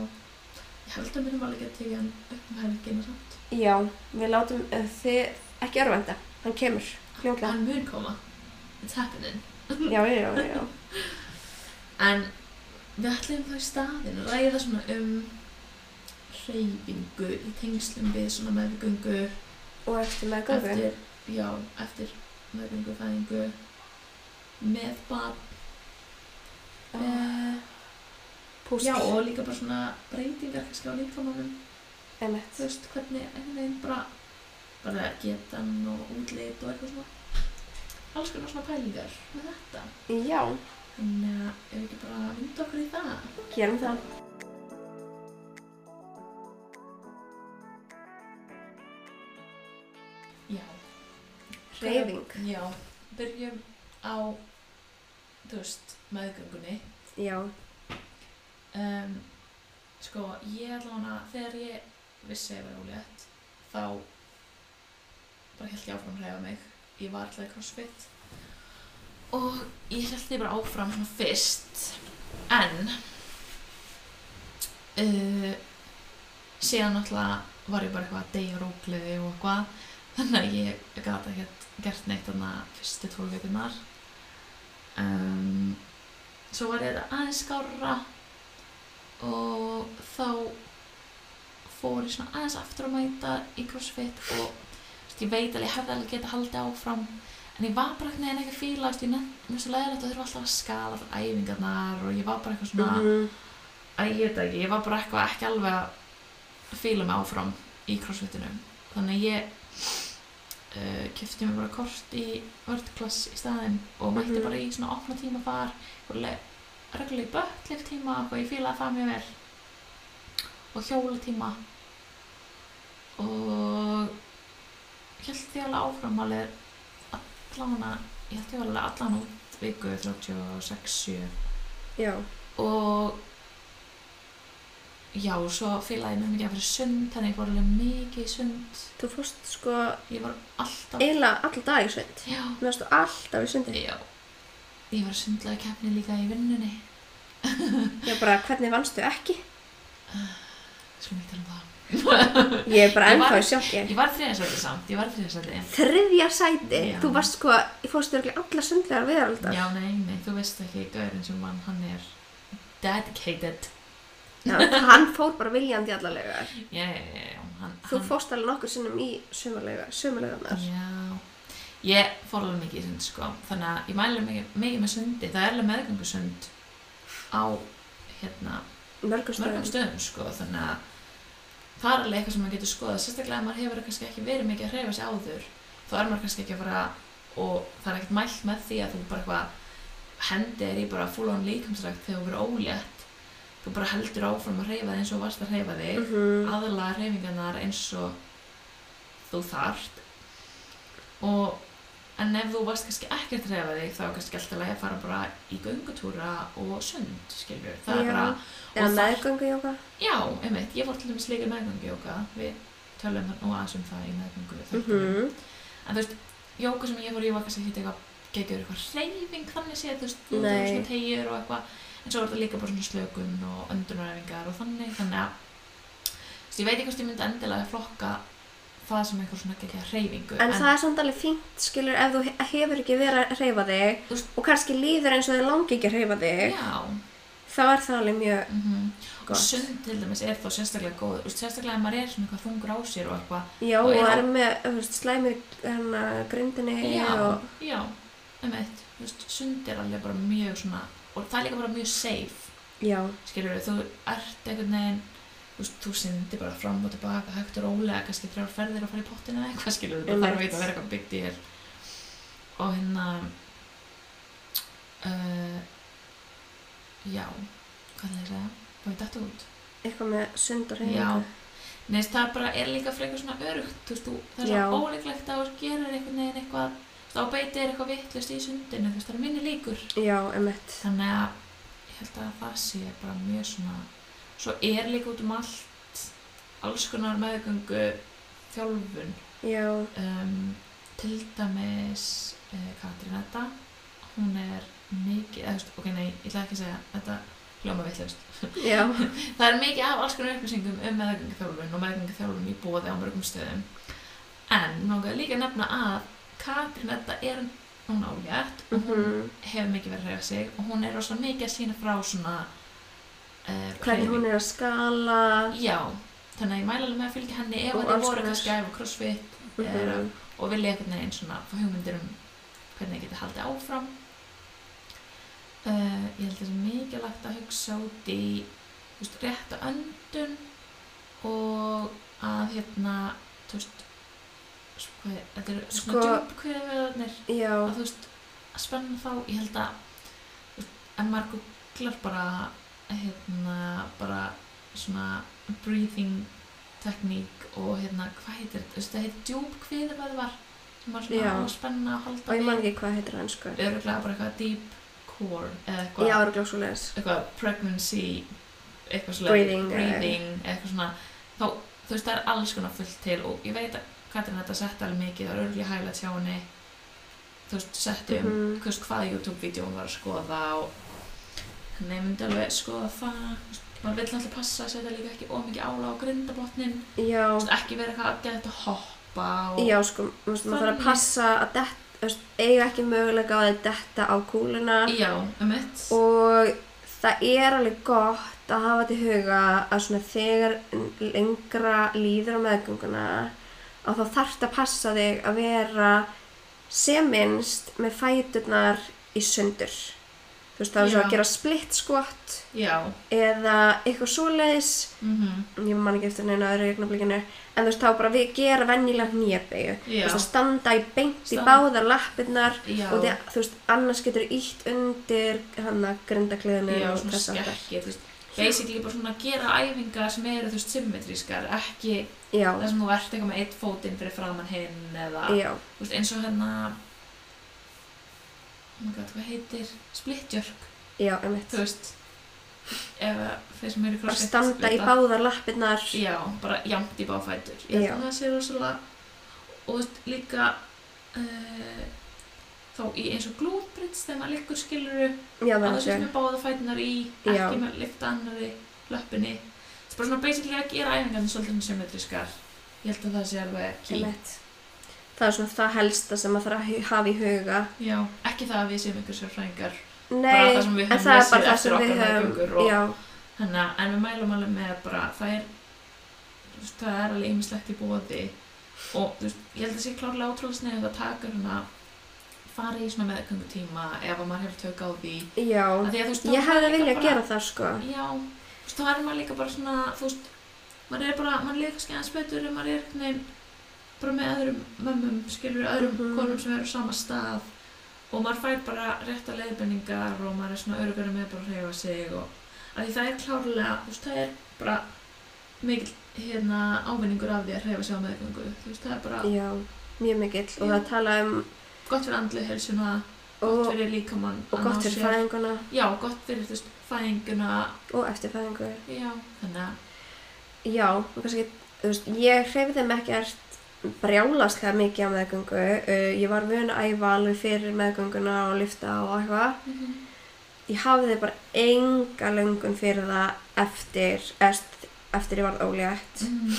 Speaker 2: ég held að mér var líka að tekið hann upp um helginu samt.
Speaker 1: já, við látum uh, þið ekki örvenda, hann kemur fljótlega,
Speaker 2: Hann mun koma. It's happening.
Speaker 1: já, já, já, já
Speaker 2: En við ætlum þá í staðinn að ræða svona um hreyfingu í tengslum við svona meðgöngu
Speaker 1: og eftir með göfu
Speaker 2: eftir, já, eftir meðgöngu, fæðingu með barn
Speaker 1: uh,
Speaker 2: eh, já,
Speaker 1: púsl,
Speaker 2: og líka bara svona breytingar kannski á líkamannum
Speaker 1: emitt
Speaker 2: þú veist, hvernig einhvern veginn bara bara getan og útlit og eitthvað svona alls konar svona pælingar með þetta
Speaker 1: já,
Speaker 2: þannig að ef við ekki bara vinda okkur í það
Speaker 1: gerum það
Speaker 2: já,
Speaker 1: hreyfing,
Speaker 2: já, byrjum á þú veist, meðgöngunni
Speaker 1: já,
Speaker 2: um, sko, ég allavega þegar ég vissi að ég var ólétt þá bara held ég áfram að reyfa mig ég var alltaf í crossfit og ég held ég bara áfram svona fyrst en uh, síðan alltaf var ég bara eitthvað að deyja rógliði og eitthvað þannig að ég gata ekkert gert neitt þarna fyrstu tólf vikunar um, svo var ég aðeins skárra og þá fór ég svona aðeins aftur að mæta í crossfit og þú veist, ég veit alveg, ég hefði alveg getað haldið áfram en ég var bara einhvern veginn ekki að fíla þú veist, ég nefn- mér er svo leiðilegt að þurfa alltaf að skala allar æfingarnar og ég var bara eitthvað svona
Speaker 1: Mhm.
Speaker 2: Æ, ég veit það ekki, ég var bara eitthvað ekki alveg að fíla mig áfram í crossfitinu þannig að ég uh, kefti mér bara kort í vördklass í staðinn og mætti
Speaker 1: Mhm.
Speaker 2: bara í svona opna tíma þar reglulegi bötlir tíma og ég fílaði það mjög vel og hjóla tíma og held því alveg áfram alveg allana ég held því alveg allan út viku 36-7
Speaker 1: já,
Speaker 2: og já, og svo fílaði ég mjög mikið að vera í sund þannig ég fór alveg mikið í sund
Speaker 1: þú fórst sko
Speaker 2: ég var alltaf
Speaker 1: eiginlega alltaf dag í sund
Speaker 2: já,
Speaker 1: mér varstu alltaf í sundi
Speaker 2: já ég var sundlega keppni líka í vinnunni
Speaker 1: ég bara, hvernig vannstu ekki
Speaker 2: skulum ekki tala um það
Speaker 1: ég er bara
Speaker 2: Ég var-
Speaker 1: ennþá í sjokki
Speaker 2: ég var þriðarsæti samt, ég var þriðarsæti
Speaker 1: þriðja sæti,
Speaker 2: Já.
Speaker 1: þú varst sko ég fórst örglega alla sundlegar veraldar
Speaker 2: já, nei, nei, þú veist ekki gaurinn sem mann, hann er dedicated
Speaker 1: Já, hann fór bara viljandi í alla laugar
Speaker 2: já, já, já, já, hann,
Speaker 1: þú
Speaker 2: hann
Speaker 1: fórst alveg nokkur sinnum í sömulaugarnar
Speaker 2: já, ég fór alveg mikið í sund sko, þannig að ég mæli mikið, mikið með sundi, það er alveg meðgangu sund á hérna
Speaker 1: mörgum
Speaker 2: mörgum
Speaker 1: stöðum
Speaker 2: stöðum sko, þannig að það er alveg eitthvað sem maður getur skoðað sérstaklega ef maður hefur kannski ekki verið mikið að hreyfa sig áður þá er maður kannski ekki að fara og það er ekkert mælt með því að þú bara eitthvað hendi er í bara full on líkamsrækt þegar þú verður ólétt þú bara heldur áfram að hreyfa þig eins og þú varst að hreyfa þig
Speaker 1: Mhm.
Speaker 2: aðlaga hreyfingarnar eins og þú þarft og en ef þú varst kannski ekkert að hreyfa þig þá er kannski alltaf leið að fara bara í göngutúra og sund skiljur,
Speaker 1: Já.
Speaker 2: það er bara
Speaker 1: eða
Speaker 2: og þar-
Speaker 1: meðgöngu jóka
Speaker 2: já, einmitt, ég fór til dæmis líka meðgangu jóka við tölum þarna og aðeins um það í meðgangu
Speaker 1: mm
Speaker 2: þættinum. en þú veist, jóka sem ég fór í var kannski hitt eitthvað getur eitthvað hreyfing þannig séð, þú veist, þú
Speaker 1: Nei.
Speaker 2: veist, svona tegjur og eitthvað en svo er þetta líka bara svona slökun og öndunaræfingar og þannig, þannig að þú veist, ég veit ekki hvort ég myndi endilega flokka það sem eitthvað svona getur hreyfingu
Speaker 1: en það er samt alveg fínt skilur ef þú he- hefur ekki verið að hreyfa þig
Speaker 2: Þú veist-
Speaker 1: og kannski líður eins og þið langi ekki að hreyfa þig
Speaker 2: já,
Speaker 1: þá er það alveg mjög
Speaker 2: mm og
Speaker 1: gott
Speaker 2: sund til dæmis er þá sérstaklega góð þú veist, sérstaklega ef maður er svona eitthvað þungur á sér og eitthvað
Speaker 1: já
Speaker 2: Og
Speaker 1: og
Speaker 2: já.
Speaker 1: er með þú veist, slæmir hérna grindinni
Speaker 2: já,
Speaker 1: og
Speaker 2: já, um eitt þú veist, sund er alveg bara mjög svona og það er líka bara mjög safe
Speaker 1: já
Speaker 2: skilur þú ert einhvern veginn þú veist, þú syndir bara fram og tilbaka hægt og rólega, kannski þrjár ferðir að fara í pottinu eða eitthvað skilur þú,
Speaker 1: Einmitt.
Speaker 2: það þarf ekki að vera eitthvað big deal og hérna uh, já hvað er það, búið þetta út
Speaker 1: eitthvað með sund og
Speaker 2: já,
Speaker 1: hreyfingu
Speaker 2: neðist það bara er líka frekar svona örugt, þú veist, þú, það er
Speaker 1: Já.
Speaker 2: svona óleiklegt að þú gerir einhvern veginn eitthvað þá beitið er eitthvað vittlust í sundinu þú veist, það er minni líkur
Speaker 1: já, emitt
Speaker 2: þannig að ég held að það sé bara mjög svona svo er líka út um allt alls konar meðgöngu þjálfun
Speaker 1: já,
Speaker 2: um, til dæmis uh, Katrín Edda hún er mikið eða, þú veist, ok, nei, ég ætla ekki að segja þetta hljóma vittlust
Speaker 1: já,
Speaker 2: það er mikið af alls konar upplýsingum um meðgöngu þjálfun og meðgöngu þjálfun í bóði á mörgum stöðum en mér langaði líka að nefna að Katrín Edda er hún ágætt og hún
Speaker 1: mhm.
Speaker 2: hefur mikið verið að hreyfa sig og hún er rosa mikið að sína frá svona uh,
Speaker 1: hvernig hún er að skala
Speaker 2: já, þannig að ég mæla alveg með að fylgja henni ef
Speaker 1: Og
Speaker 2: þetta
Speaker 1: alls
Speaker 2: voru
Speaker 1: konar.
Speaker 2: kannski að æfa crossfit er,
Speaker 1: Mhm.
Speaker 2: og vilja einhvern veginn svona fá hugmyndir um hvernig það geti haldið áfram uh, ég held þessi mikilvægt að hugsa út í þú veist, rétta öndun og að hérna þú veist s- hvað, er- þetta eru svona
Speaker 1: Sko-
Speaker 2: sko, djúbkveðveðarnir
Speaker 1: já,
Speaker 2: að þú veist, að spenna þá ég held að þú veist, ef maður googlar bara hérna, bara svona breathing tekník og hérna, hvað heitir þetta, Þú veist, það heitir djúb kviður hvað það var sem maður svona
Speaker 1: Já.
Speaker 2: á að spenna og
Speaker 1: og
Speaker 2: halda
Speaker 1: ég man ekki hvað heitir hann sko já,
Speaker 2: öruglega bara eitthvað deep core eða eitthvað,
Speaker 1: örgulega svo leis
Speaker 2: eitthvað pregnancy eitthvað svona
Speaker 1: Breathing, eða-
Speaker 2: breathing eitthvað svona, þá, þú veist, það er alls konar fullt til og ég veit að Katrin þetta setti alveg mikið, það er öruglega hæglega tjá henni þú veist, setti um
Speaker 1: Mhm.
Speaker 2: þú veist hvaða YouTube-vídeó hún var að skoða og þannig ég myndi alveg skoða það Þú veist, maður vill alltaf passa að setja líka ekki of mikið ála á grindabotnin
Speaker 1: já,
Speaker 2: Þú veist, ekki vera eitthvað að geta þetta hoppa og
Speaker 1: já sko þú veist, maður þarf
Speaker 2: Þannig.
Speaker 1: að passa að dett, þú veist, eiga ekki mögulega á að detta á kúluna
Speaker 2: já um mitt
Speaker 1: og það er alveg gott að hafa til huga að svona þegar lengra líður á meðgönguna að þá þarft að passa þig að vera sem minnst með fæturnar í sundur þú veist það er svo
Speaker 2: Já.
Speaker 1: að gera splitt skott
Speaker 2: já
Speaker 1: eða eitthvað svoleiðis
Speaker 2: mm
Speaker 1: ég man ekki eftir neina öðru eignablikinu en þú veist þá bara við gera venjulega nýjabegu þú
Speaker 2: Já.
Speaker 1: veist að standa í beint í
Speaker 2: Standa.
Speaker 1: báðar lappirnar
Speaker 2: já
Speaker 1: og því, að, þú veist annars getur ítt undir hann að grindakliðinu
Speaker 2: já,
Speaker 1: og
Speaker 2: svona
Speaker 1: þess að
Speaker 2: skekkir þú veist, basically bara svona gera æfingar sem eru þú veist symmetrískar ekki
Speaker 1: já,
Speaker 2: þar sem þú ert eitthvað með eitt fótinn fyrir framann hinn eða
Speaker 1: já,
Speaker 2: þú veist, eins og hérna oh my god, hvað heitir splittjörk
Speaker 1: já, einmitt
Speaker 2: þú veist ef að þeir sem eru í
Speaker 1: bara
Speaker 2: crossfit
Speaker 1: standa í
Speaker 2: vita-
Speaker 1: báðar lappirnar
Speaker 2: já, bara jamt í báfætur ég held
Speaker 1: Já.
Speaker 2: að það sé rosalega og þú veist, líka uh, þá í eins og glútbrits þegar maður liggur skiluru
Speaker 1: já,
Speaker 2: að
Speaker 1: það
Speaker 2: þú
Speaker 1: er
Speaker 2: sést
Speaker 1: sér
Speaker 2: með báða fætunar í ekki
Speaker 1: Já.
Speaker 2: með lifta annari löppinni það er bara svona basically að gera æfingarnir svolítið symmetriskar ég held að það sé alveg key.
Speaker 1: einmitt það er svona það helsta sem maður þarf að hu- hafa í huga
Speaker 2: já, ekki það að við séum einhver sérfræðingar bara
Speaker 1: nei,
Speaker 2: það sem við
Speaker 1: en
Speaker 2: höfum
Speaker 1: það er bara það
Speaker 2: lesið eftir
Speaker 1: sem við
Speaker 2: okkar meðgöngur og-
Speaker 1: höfum já,
Speaker 2: Þannig að, en við mælum alveg með bara, það er, þú veist, það er alveg ýmislegt í bóði og þú veist, ég held að sé klárlega ótrúlega sniðið að taka hérna, fara í svona meðgöngutíma ef að maður hefur tök á því.
Speaker 1: já
Speaker 2: Af Því að, þú veist,
Speaker 1: ég hefði viljað gera það sko
Speaker 2: það. Já, þú veist, þá er maður líka bara svona, þú veist, maður er bara, maður líka kannski aðeins betur en maður er einhvern veginn bara með öðrum mömmum, skilur, öðrum
Speaker 1: Mhm.
Speaker 2: konum sem eru á sama stað og maður fær bara rétta leiðbendingar og maður er svona örugur með bara að hreyfa sig og að því það er klárlega, þú veist, það er bara mikill hérna ávinningur af því að hreyfa sig á meðgöngu þú veist, það er bara
Speaker 1: já, mjög mikill og
Speaker 2: Já.
Speaker 1: það tala um
Speaker 2: gott fyrir andlu helsuna gott
Speaker 1: og,
Speaker 2: fyrir líkamann
Speaker 1: og
Speaker 2: að ná
Speaker 1: gott fyrir
Speaker 2: sér-
Speaker 1: fæðinguna
Speaker 2: já, gott fyrir, þú veist, fæðinguna
Speaker 1: og eftir fæðingu
Speaker 2: já, þannig að
Speaker 1: já, og kannski, þú veist, ég hreyfði mig ekkert brjálaslega mikið á meðgöngu uh, ég var vön að æfa alveg fyrir meðgönguna og lyfta og eitthvað ég hafði bara enga löngun fyrir það eftir eftir, eftir ég varð ólétt
Speaker 2: mm,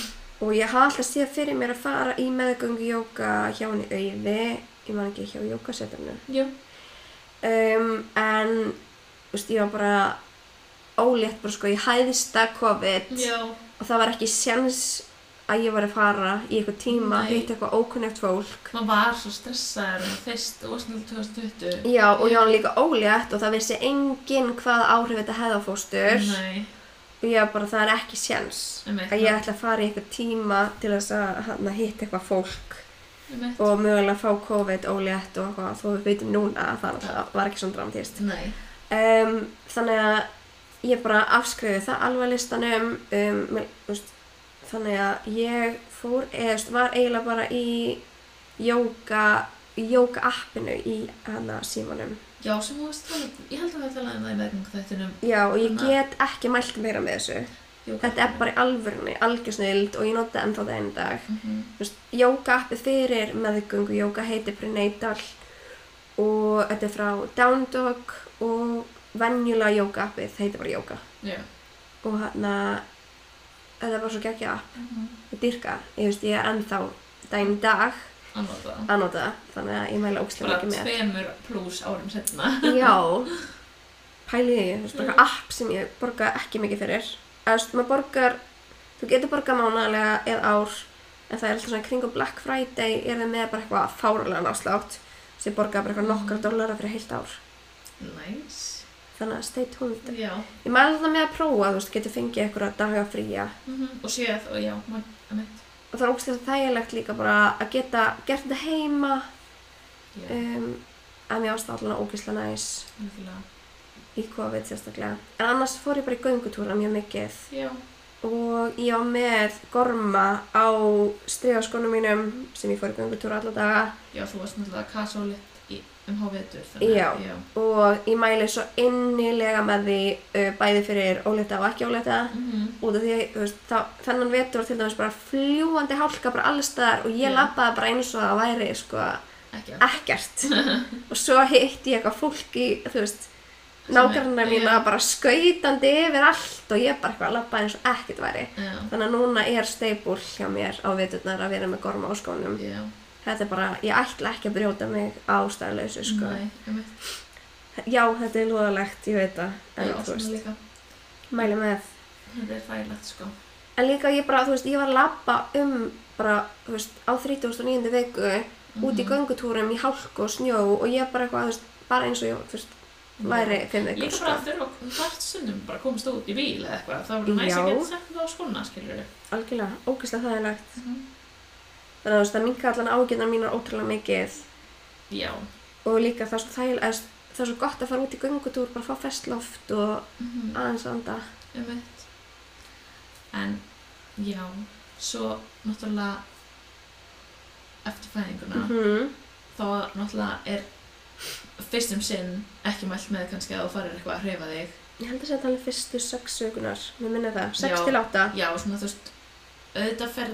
Speaker 1: og ég hafði alltaf séð fyrir mér að fara í meðgöngu jóka hjá henni auði ég man ekki hjá jókasetrinu
Speaker 2: já,
Speaker 1: um, en þú veist, ég var bara ólétt bara sko í hæðsta COVID
Speaker 2: já,
Speaker 1: og það var ekki sjans að ég var að fara í eitthvað tíma
Speaker 2: Nei.
Speaker 1: að hitta eitthvað ókunnegt fólk
Speaker 2: maður var svo stressaður og fyrst og snil 2020
Speaker 1: já og ég var líka ólétt og það vissi enginn hvað áhrif þetta hefði á fóstur
Speaker 2: nei,
Speaker 1: og ég var bara það er ekki sjans
Speaker 2: Einmitt.
Speaker 1: að ég ætla að fara í eitthvað tíma til þess að hana, hitta eitthvað fólk
Speaker 2: einmitt.
Speaker 1: og mögulega fá COVID ólétt og eitthvað þó við veitum núna að það náttúrulega var ekki svona dramatist
Speaker 2: nei,
Speaker 1: um, þannig að ég bara afskriði það alveg af listanum um, mér, úst, þannig að ég fór eða úst, var eiginlega bara í jóka jóka appinu í hana símanum
Speaker 2: já, sem þú varst talað ég held að við talaðum um það í meðgöngu þættinum
Speaker 1: já og ég
Speaker 2: Þannig að-
Speaker 1: get ekki mælt meira með þessu þetta er bara í alvörunni, algjörsnild og ég nota það ennþá það einu dag
Speaker 2: mm
Speaker 1: Þú veist, Jóka appi fyrir meðgöngu, jóka heitir prenatal og þetta er frá Down Dog og venjulega jóka appið, það heitir bara jóka
Speaker 2: já,
Speaker 1: og hann að þetta er bara svo geggja app,
Speaker 2: mm
Speaker 1: ég dyrka ég veist ég er ennþá dæn dag
Speaker 2: annað það
Speaker 1: að nota það, þannig að ég mæla ógstlega
Speaker 2: bara
Speaker 1: ekki með
Speaker 2: tveimur pluss árum setna
Speaker 1: já, pæli því þú veist bara eitthvað app sem ég borga ekki mikið fyrir eða þú veist maður borgar þú getur borgað mánalega eða ár en það er alltaf svona kringum Black Friday er það með bara eitthvað fáralega náslátt sem borga bara eitthvað nokkra dólara fyrir heilt ár
Speaker 2: nice.
Speaker 1: þannig að stay tuned
Speaker 2: já
Speaker 1: ég mæla það með að prófa, þú veist, getur fengið eitthvað daga fría
Speaker 2: mm og séð og já, ma- einmitt
Speaker 1: og það er ógstlega þægilegt líka bara að geta gert þetta heima
Speaker 2: já,
Speaker 1: um, en ég ástæða allan ógæslega næs
Speaker 2: algjörlega.
Speaker 1: í COVID sérstaklega en annars fór ég bara í göngutúra mjög mikið
Speaker 2: já,
Speaker 1: og ég var með gorma á stregaskónum mínum sem ég fór í göngutúra alla daga
Speaker 2: já, þú varst náttúrulega kasólitt í- um hávetur þannig
Speaker 1: Já.
Speaker 2: að- já.
Speaker 1: og ég mæli svo innilega með því uh, bæði fyrir óleita og ekki óleita
Speaker 2: Mm
Speaker 1: út af því, þú veist, þá, þennan vetur var til dæmis bara fljúandi hálka bara alls staðar og ég
Speaker 2: Já.
Speaker 1: labbaði bara eins og það væri sko
Speaker 2: ekki að-
Speaker 1: ekkert og svo hitti ég eitthvað fólk í, þú veist
Speaker 2: Sem er-
Speaker 1: nákvæmna mína bara skautandi yfir allt og ég bara eitthvað labbaði eins og ekkert væri
Speaker 2: já,
Speaker 1: Þannig að núna er steipul hjá mér á veturnar að vera með gorma á skónum.
Speaker 2: já,
Speaker 1: Þetta er bara, ég ætla ekki að brjóta mig ástæðlausu, sko.
Speaker 2: nei, einmitt
Speaker 1: Já, þetta er lúðalegt, ég veit það. En,
Speaker 2: já,
Speaker 1: þú
Speaker 2: svona
Speaker 1: veist,
Speaker 2: líka,
Speaker 1: mæli með.
Speaker 2: þetta er fælagt sko
Speaker 1: En líka ég bara, þú veist, ég var að labba um bara, þú veist, á 39. viku út
Speaker 2: Mhm.
Speaker 1: í göngutúrum í hálku og snjó og ég bara eitthvað, þú veist, bara eins og ég, þú veist, væri fimm vikur, sko.
Speaker 2: líka bara að þurfa að þart stundum bara að komast út í bíl eða eitthvað það var
Speaker 1: Já.
Speaker 2: næst að geta sett þetta á skóna skilur við
Speaker 1: Algjörlega, ógeðslega þaðilegt. Þannig að þú veist, það minka allan ágjörnar mínar ótrúlega mikið.
Speaker 2: já,
Speaker 1: og líka það er svo þægil eða það er svo gott að fara út í göngutúr bara fá festloft og
Speaker 2: mm
Speaker 1: aðeins anda
Speaker 2: Einmitt. En já, svo náttúrulega eftir fæðinguna
Speaker 1: -hmm.
Speaker 2: þá náttúrulega er fyrst um sinn ekki mælt með kannski að þú farir eitthvað að hreyfa þig.
Speaker 1: ég held að segja talið fyrstu sex sögunar mér minna það, sex
Speaker 2: Já.
Speaker 1: til átta
Speaker 2: Já, svona þú veist, auðvitað fer,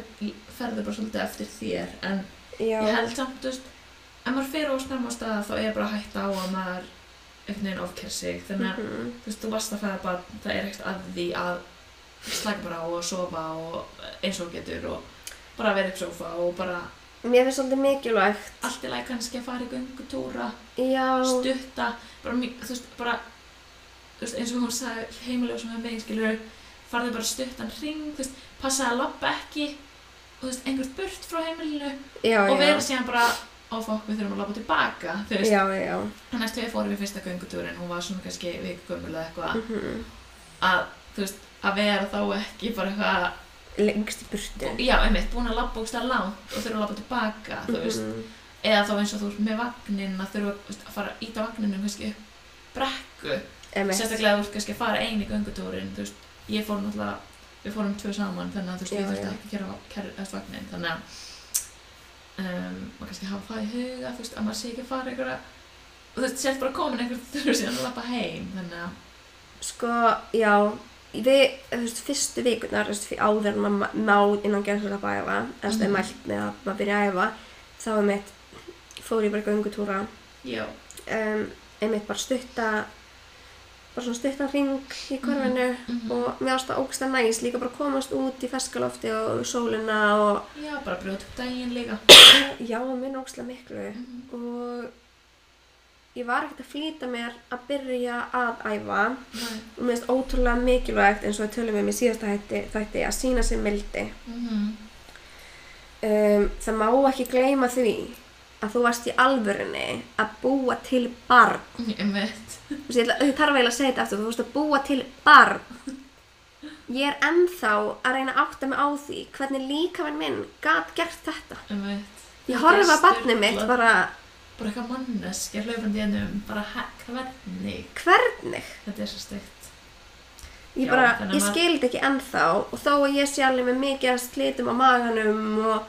Speaker 2: ferður bara svolítið eftir þér en
Speaker 1: já,
Speaker 2: ég held samt, þú veist, ef maður fer og snemma á staða þá er bara hægt á að maður einhvern veginn ofker sig þannig að
Speaker 1: Mhm.
Speaker 2: þú veist, þú varst að fæða bara, það er ekkert að því að slaka bara á og sofa og eins og þú getur og bara vera upp sofa og bara
Speaker 1: mér finnst svolítið mikilvægt
Speaker 2: allt í lagi kannski að fara í göngutúra,
Speaker 1: já,
Speaker 2: stutta, bara, mjög- þú veist, bara, þú veist, eins og hún sagði heimilega sem við megin, skilur, farðu bara stuttan hring, þú veist, passaði að labba ekki, og þú veist, einhvert burt frá heimilinu
Speaker 1: já,
Speaker 2: og
Speaker 1: já
Speaker 2: vera síðan bara, og fokk, við þurfum að labba tilbaka, þú veist,
Speaker 1: já, já,
Speaker 2: þannig að við fórum í fyrsta göngutúrin, hún var svona kannski vikugömmul eða eitthvað,
Speaker 1: mm -hmm.
Speaker 2: að þú veist, að vera þá ekki bara eitthvað,
Speaker 1: lengst í burtu
Speaker 2: já, einmitt, búin að labba úkst að langt og þurfa að labba tilbaka, þú veist
Speaker 1: Mhm.
Speaker 2: eða þá eins og þú veist, með vagnin að þurfa þú veist, að fara að íta vagninum kannski upp brekku
Speaker 1: Emitt.
Speaker 2: sérstaklega ef þú ert kannski að fara eini göngutúrin þú veist, ég fór náttúrulega við fórum tvö saman þannig að þú veist,
Speaker 1: Já,
Speaker 2: ég þurfti
Speaker 1: já.
Speaker 2: ekki að kæra, kæra eða vagnin þannig að um, maður kannski hafa það í huga þú veist, að maður sé ekki að fara einhverja og þú veist, sért bara komin einhver þurfur síðan að lappa heim þannig að,
Speaker 1: Sko, já, við, þú veist, fyrstu vikunar, þú veist, fyrir áður en maður náð innan gerðsvölda að æfa, eða þú veist,
Speaker 2: Mhm.
Speaker 1: mm. mælt með að maður byrja að æfa, þá er mitt, fór ég bara göngutúra,
Speaker 2: já,
Speaker 1: um, einmitt bara stutta, bara svona stutta ring í korfinu
Speaker 2: mhm.
Speaker 1: og mér ást að ógsta næs líka bara komast út í feskalofti og sólina og
Speaker 2: já, bara brjóta upp daginn líka
Speaker 1: já, minn ógsta miklu
Speaker 2: Mhm.
Speaker 1: og ég var ekkert að flýta mér að byrja að æfa
Speaker 2: Mhm. Nei.
Speaker 1: og mér finnst ótrúlega mikilvægt eins og við tölum um í síðasta hætti, þætti að sína sér mildi
Speaker 2: Mhm.
Speaker 1: um, það má ekki gleyma því að þú varst í alvörunni að búa til barn
Speaker 2: einmitt
Speaker 1: Þú veist, ég ætla- ég þarf eiginlega að segja þetta aftur, þú varst að búa til barn ég er ennþá að reyna að átta mig á því hvernig líka minn minn gat gert þetta
Speaker 2: einmitt
Speaker 1: ég horfa að barnið mitt
Speaker 2: Sturlað.
Speaker 1: bara
Speaker 2: bara eitthvað manneskja hlaupandi ennum bara hæ- hvernig
Speaker 1: hvernig
Speaker 2: þetta er svo steikt
Speaker 1: ég,
Speaker 2: Já,
Speaker 1: bara,
Speaker 2: þannig að
Speaker 1: ég
Speaker 2: maður-
Speaker 1: skildi ekki ennþá og þó að ég sé alveg með mikið að slitum á maganum og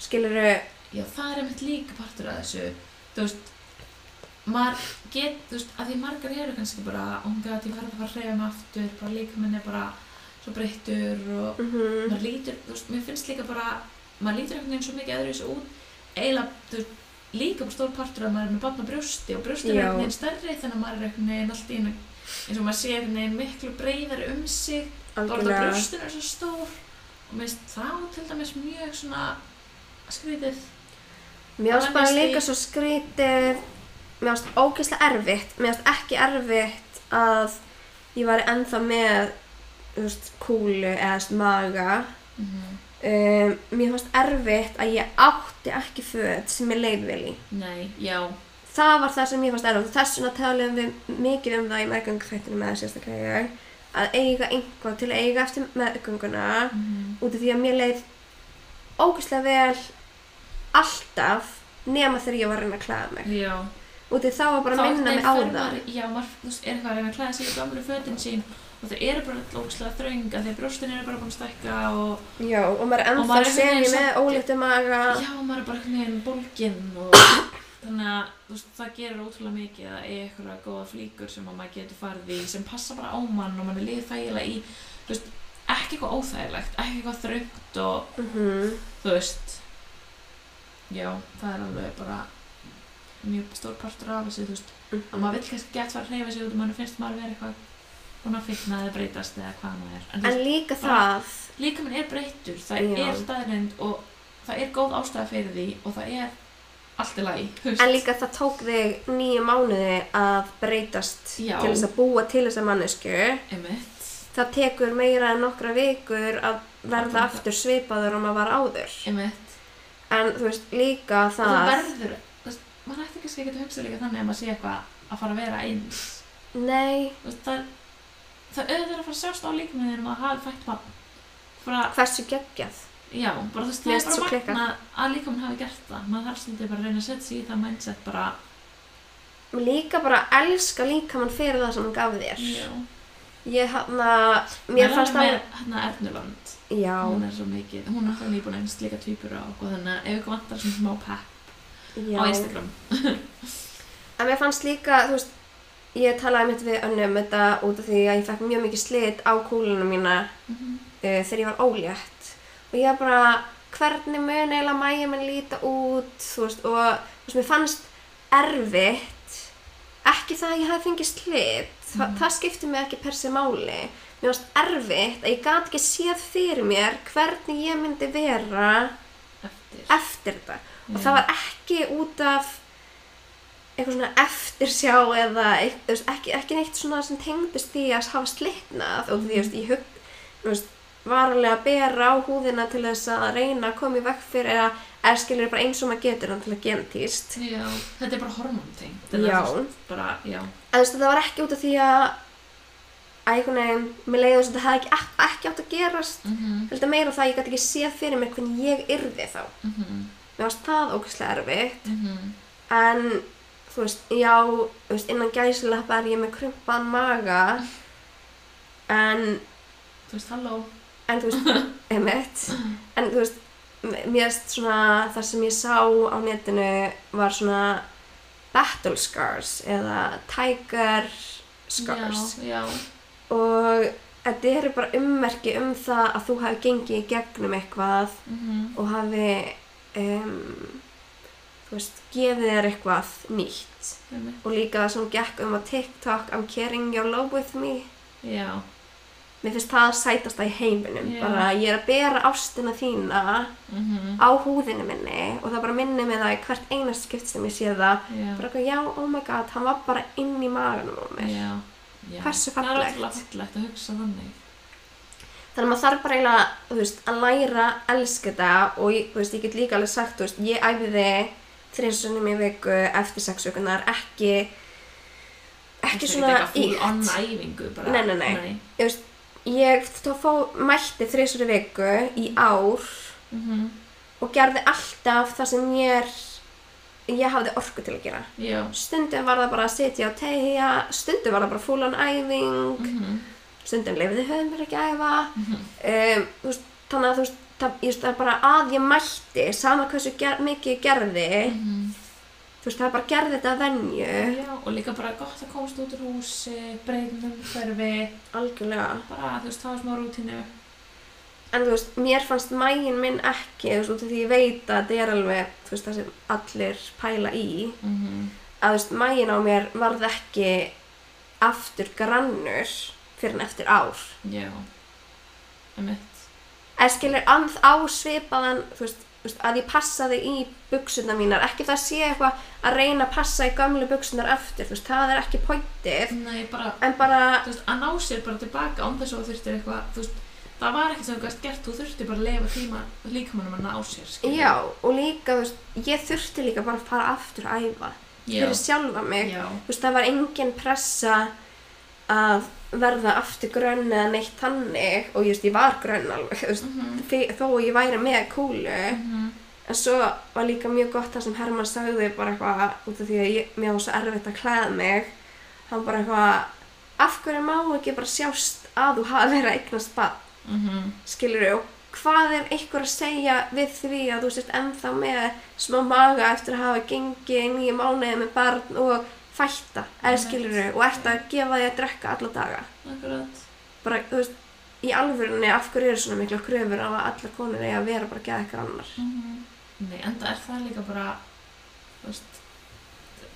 Speaker 1: skiluru
Speaker 2: Já, það er einmitt líka partur af þessu. Þú veist, maður get, þú veist, að því margar eru kannski bara, ongað, ég verði bara að reyða mig aftur, bara líka minni bara svo breyttur og
Speaker 1: mm
Speaker 2: maður lítur, þú veist, mér finnst líka bara, maður lítur einhvern veginn svo mikið öðru þessu út, eiginlega, þú veist, líka bara stór partur að maður er með barn á brjósti og brjósti er
Speaker 1: Já.
Speaker 2: einhvern veginn stærri þannig að maður er einhvern veginn allt í einu, eins og maður sé einhvern veginn miklu breyðari um sig Bara það
Speaker 1: algjörlega
Speaker 2: brjóstun er svo stór og mér finnst það til dæmis mjög svona skrítið.
Speaker 1: Mér finnst bara
Speaker 2: Honestly.
Speaker 1: líka svo skrítið, mér finnst ógeðslega erfitt, mér finnst ekki erfitt að ég væri ennþá með þú veist, kúlu eða þú veist, maga.
Speaker 2: Mhm.
Speaker 1: Um, mér finnst erfitt að ég átti ekki föt sem ég leið vel í.
Speaker 2: Nei, já,
Speaker 1: Það var það sem mér fannst erfitt og þess vegna tölum við mikið um það í meðgöngþættinu með sérstaklega ég, að eiga einhvað til að eiga eftir meðgönguna
Speaker 2: Mhm.
Speaker 1: út af því að mér leið ógeðslega vel alltaf nema þegar ég var að reyna að klæða mig.
Speaker 2: já.
Speaker 1: Úti þá var bara
Speaker 2: Þá
Speaker 1: að minna mig
Speaker 2: einhvern
Speaker 1: á
Speaker 2: veginn fer
Speaker 1: það.
Speaker 2: maður- Já, maður þú veist, er eitthvað að reyna að klæða sig í gamlu fötin sín og þau eru bara lókslega þrönga þegar brjóstin eru bara búin að stækka og
Speaker 1: Já, og maður er
Speaker 2: Og
Speaker 1: ennþá
Speaker 2: maður er einhvern
Speaker 1: semi
Speaker 2: veginn
Speaker 1: með
Speaker 2: samt-
Speaker 1: ólítu maga.
Speaker 2: já, maður er bara einhvern veginn bólginn og þannig að þú veist, það gerir ótrúlega mikið að eiga eitthvað góða flíkur sem að maður getur farið í sem passa bara á mann og mann er liðið þægilega í, þú veist, ekki eitthvað óþægilegt, ekki eitthvað þröngt og
Speaker 1: Mhm.
Speaker 2: þú veist já, það er alveg bara mjög stór partur af þessu þú veist, að maður vill kannski gett fara að hreyfa sig út og maður finnst maður vera eitthvað búin að fitna eða breytast eða hvað maður er en,
Speaker 1: En
Speaker 2: þú veist,
Speaker 1: líka
Speaker 2: bara-
Speaker 1: það,
Speaker 2: líka minn er breyttur, það
Speaker 1: Já.
Speaker 2: er staðrind og það er góð ástæða fyrir því og það er allt í lagi þú
Speaker 1: en
Speaker 2: veist.
Speaker 1: líka það tók þig nýju mánuði að breytast
Speaker 2: Já.
Speaker 1: til þess að búa til þessa mannesku.
Speaker 2: einmitt,
Speaker 1: Það tekur meira en nokkra vikur að verða
Speaker 2: Að-
Speaker 1: aftur svipaður og maður var áður.
Speaker 2: einmitt
Speaker 1: En þú veist, líka
Speaker 2: og það
Speaker 1: það,
Speaker 2: verður, þú veist, maður ætti kannski ekki að hugsa líka þannig að maður sé eitthvað að fara að vera eins
Speaker 1: nei,
Speaker 2: Þú veist, það, það auðvitað er að fara að sjást á líkmiðinum að hafa fætt barn bara
Speaker 1: hversu geggjað.
Speaker 2: Já, bara þú veist,
Speaker 1: Mér
Speaker 2: það
Speaker 1: finnst
Speaker 2: er
Speaker 1: svo
Speaker 2: bara
Speaker 1: klikkað.
Speaker 2: magna að líka mann hafi gert það. Maður þarf stundið bara að reyna að setja sig í það mindset bara,
Speaker 1: Líka bara elska líkamann fyrir það sem hann gaf þér.
Speaker 2: já.
Speaker 1: Ég hann að, mér fannst það,
Speaker 2: það... Með hérna Ernuland,
Speaker 1: já,
Speaker 2: hún er svo mikið, hún er þannig búin að einnst líka tvípur á okkur, þannig að ef ykkur vantar svona smá pepp
Speaker 1: já.
Speaker 2: á Instagram.
Speaker 1: En mér fannst líka, þú veist, ég talaði mitt við önnu um þetta út af því að ég fekk mjög mikið slit á kúlunum mína
Speaker 2: Mm -hmm.
Speaker 1: uh, þegar ég var ólétt. Og ég var bara, hvernig mun eiginlega mæja minn líta út, þú veist, og þú veist, mér fannst erfitt, ekki það að ég hafi fengið slit, Þa, það skipti mig ekki per se máli. Mér fannst erfitt að ég gat ekki séð fyrir mér hvernig ég myndi vera
Speaker 2: Eftir.
Speaker 1: eftir þetta og það var ekki út af eitthvað svona eftirsjá eða eitt- þú veist, ekki, ekki neitt svona sem tengdist því að hafa slitnað og því þú veist, ég hugg þú veist, var alveg að bera á húðina til þess að reyna að koma í vekk fyrir eða er skilur bara eins og maður getur hann til að genetíst
Speaker 2: Já, þetta er bara hormonting.
Speaker 1: Já.
Speaker 2: Bara, já.
Speaker 1: en þú veist, það var ekki út af því að að einhvern veginn, mér leiði þess að þetta hefði ekki, ekki, ekki átt að gerast
Speaker 2: Mm -hmm.
Speaker 1: heldur meira það að ég gæti ekki séð fyrir mér hvernig ég yrði þá
Speaker 2: Mm -hmm. mhm.
Speaker 1: mér varst það ókvæslega erfitt
Speaker 2: Mm -hmm.
Speaker 1: en þú veist, já, þú veist, innan gæsilappa er ég með krumpaðan maga en,
Speaker 2: Þú veist, halló.
Speaker 1: en þú veist, einmitt en þú veist, m- mér erst svona það sem ég sá á netinu var svona battle scars eða tiger scars
Speaker 2: Já, já.
Speaker 1: og þetta eru bara ummerki um það að þú hafi gengið í gegnum eitthvað
Speaker 2: mhm,
Speaker 1: og hafi um, þú veist, gefið þér eitthvað nýtt
Speaker 2: einmitt.
Speaker 1: og líka það sem gekk um að TikTok I'm carrying your love with me
Speaker 2: Já,
Speaker 1: mér finnst það sætast það í heiminum
Speaker 2: Já.
Speaker 1: bara ég er að bera ástina þína
Speaker 2: mhm,
Speaker 1: á húðinu minni og það bara minni mig það í hvert einast skipt sem ég sé það
Speaker 2: já.
Speaker 1: bara eitthvað, já, oh my god, hann var bara inn í maganum á mér
Speaker 2: Já, já.
Speaker 1: Hversu
Speaker 2: Það
Speaker 1: fallegt.
Speaker 2: er alltaf fallegt að hugsa þannig.
Speaker 1: þannig að maður þarf bara eiginlega, þú veist, að læra að elska þetta og ég, þú veist, ég get líka alveg sagt, þú veist, ég æfiði þriðsunum í viku eftir sex vikunar, ekki ekki svona
Speaker 2: í...
Speaker 1: ítt.
Speaker 2: Ekki eitthvað æfingu bara.
Speaker 1: Nei, nei, nei. ég veist, ég þá fó, mætti þriðsunum viku í ár
Speaker 2: Mhm,
Speaker 1: og gerði alltaf það sem ég ég hafði orku til að gera
Speaker 2: já.
Speaker 1: stundum var það bara að sitja og tegja stundum var það bara fúlan æfing
Speaker 2: Mhm,
Speaker 1: stundum leifiði höfum mér ekki að æfa
Speaker 2: mhm,
Speaker 1: um, þú veist, þannig að þú veist það, ég veist, það er bara að ég mætti sama hversu ger, mikið ég gerði
Speaker 2: mhm.
Speaker 1: þú veist það er bara gerði þetta að venju
Speaker 2: Já, og líka bara gott að komast út úr húsi, breytum umhverfi,
Speaker 1: algjörlega
Speaker 2: bara, þú veist, hafa smá rútinu.
Speaker 1: en þú veist, mér fannst mægin minn ekki þú veist, út af því ég veit að þetta er alveg þú veist, það sem allir pæla í
Speaker 2: Mhm,
Speaker 1: að þú veist, mægin á mér varð ekki aftur grannur fyrir en eftir ár
Speaker 2: já. Emitt.
Speaker 1: eða skilur að á svipaðan þú veist, þú veist, að ég passaði í buksuna mínar, ekki það sé eitthvað að reyna að passa í gamlu buksunar aftur þú veist, það er ekki pointið
Speaker 2: Nei, Hérna, bara,
Speaker 1: en bara,
Speaker 2: þú veist, að ná sér bara tilbaka án þess að þú þurftir eitthvað, þú veist, það var ekkert sem þú gæst gert, þú þurftir bara að leifa tíma líkamannum að ná sér, skilur.
Speaker 1: já og líka, þú veist ég þurfti líka bara að fara aftur að æfa
Speaker 2: Já.
Speaker 1: fyrir sjálfa mig
Speaker 2: Já.
Speaker 1: þú veist, það var engin pressa að verða aftur grönn eða neitt þannig og ég, veist, ég var grönn alveg þú veist,
Speaker 2: Mhm.
Speaker 1: þi- þó ég væri með kúlu
Speaker 2: Mhm.
Speaker 1: En svo var líka mjög gott það sem Hermann sagði bara eitthvað út af því að ég, mér var svo erfitt að klæða mig. Hann bara eitthvað, af hverju má ekki bara sjást að þú hafa verið að eignast bann,
Speaker 2: Mhm.
Speaker 1: skilur þú? Hvað er einhver að segja við því að þú sért ennþá með smá maga eftir að hafa gengið nýju mánuði með barn og fætta, eða
Speaker 2: Einmitt.
Speaker 1: skilur þú? Og ert að gefa því að drekka alla daga.
Speaker 2: Akkurat.
Speaker 1: Bara, þú veist, í alvörunni af hverju eru svona mikla kröfur á að allar konur eiga að vera bara að geða eitthvað annar.
Speaker 2: Mhm. Nei, enda er það líka bara, þú veist,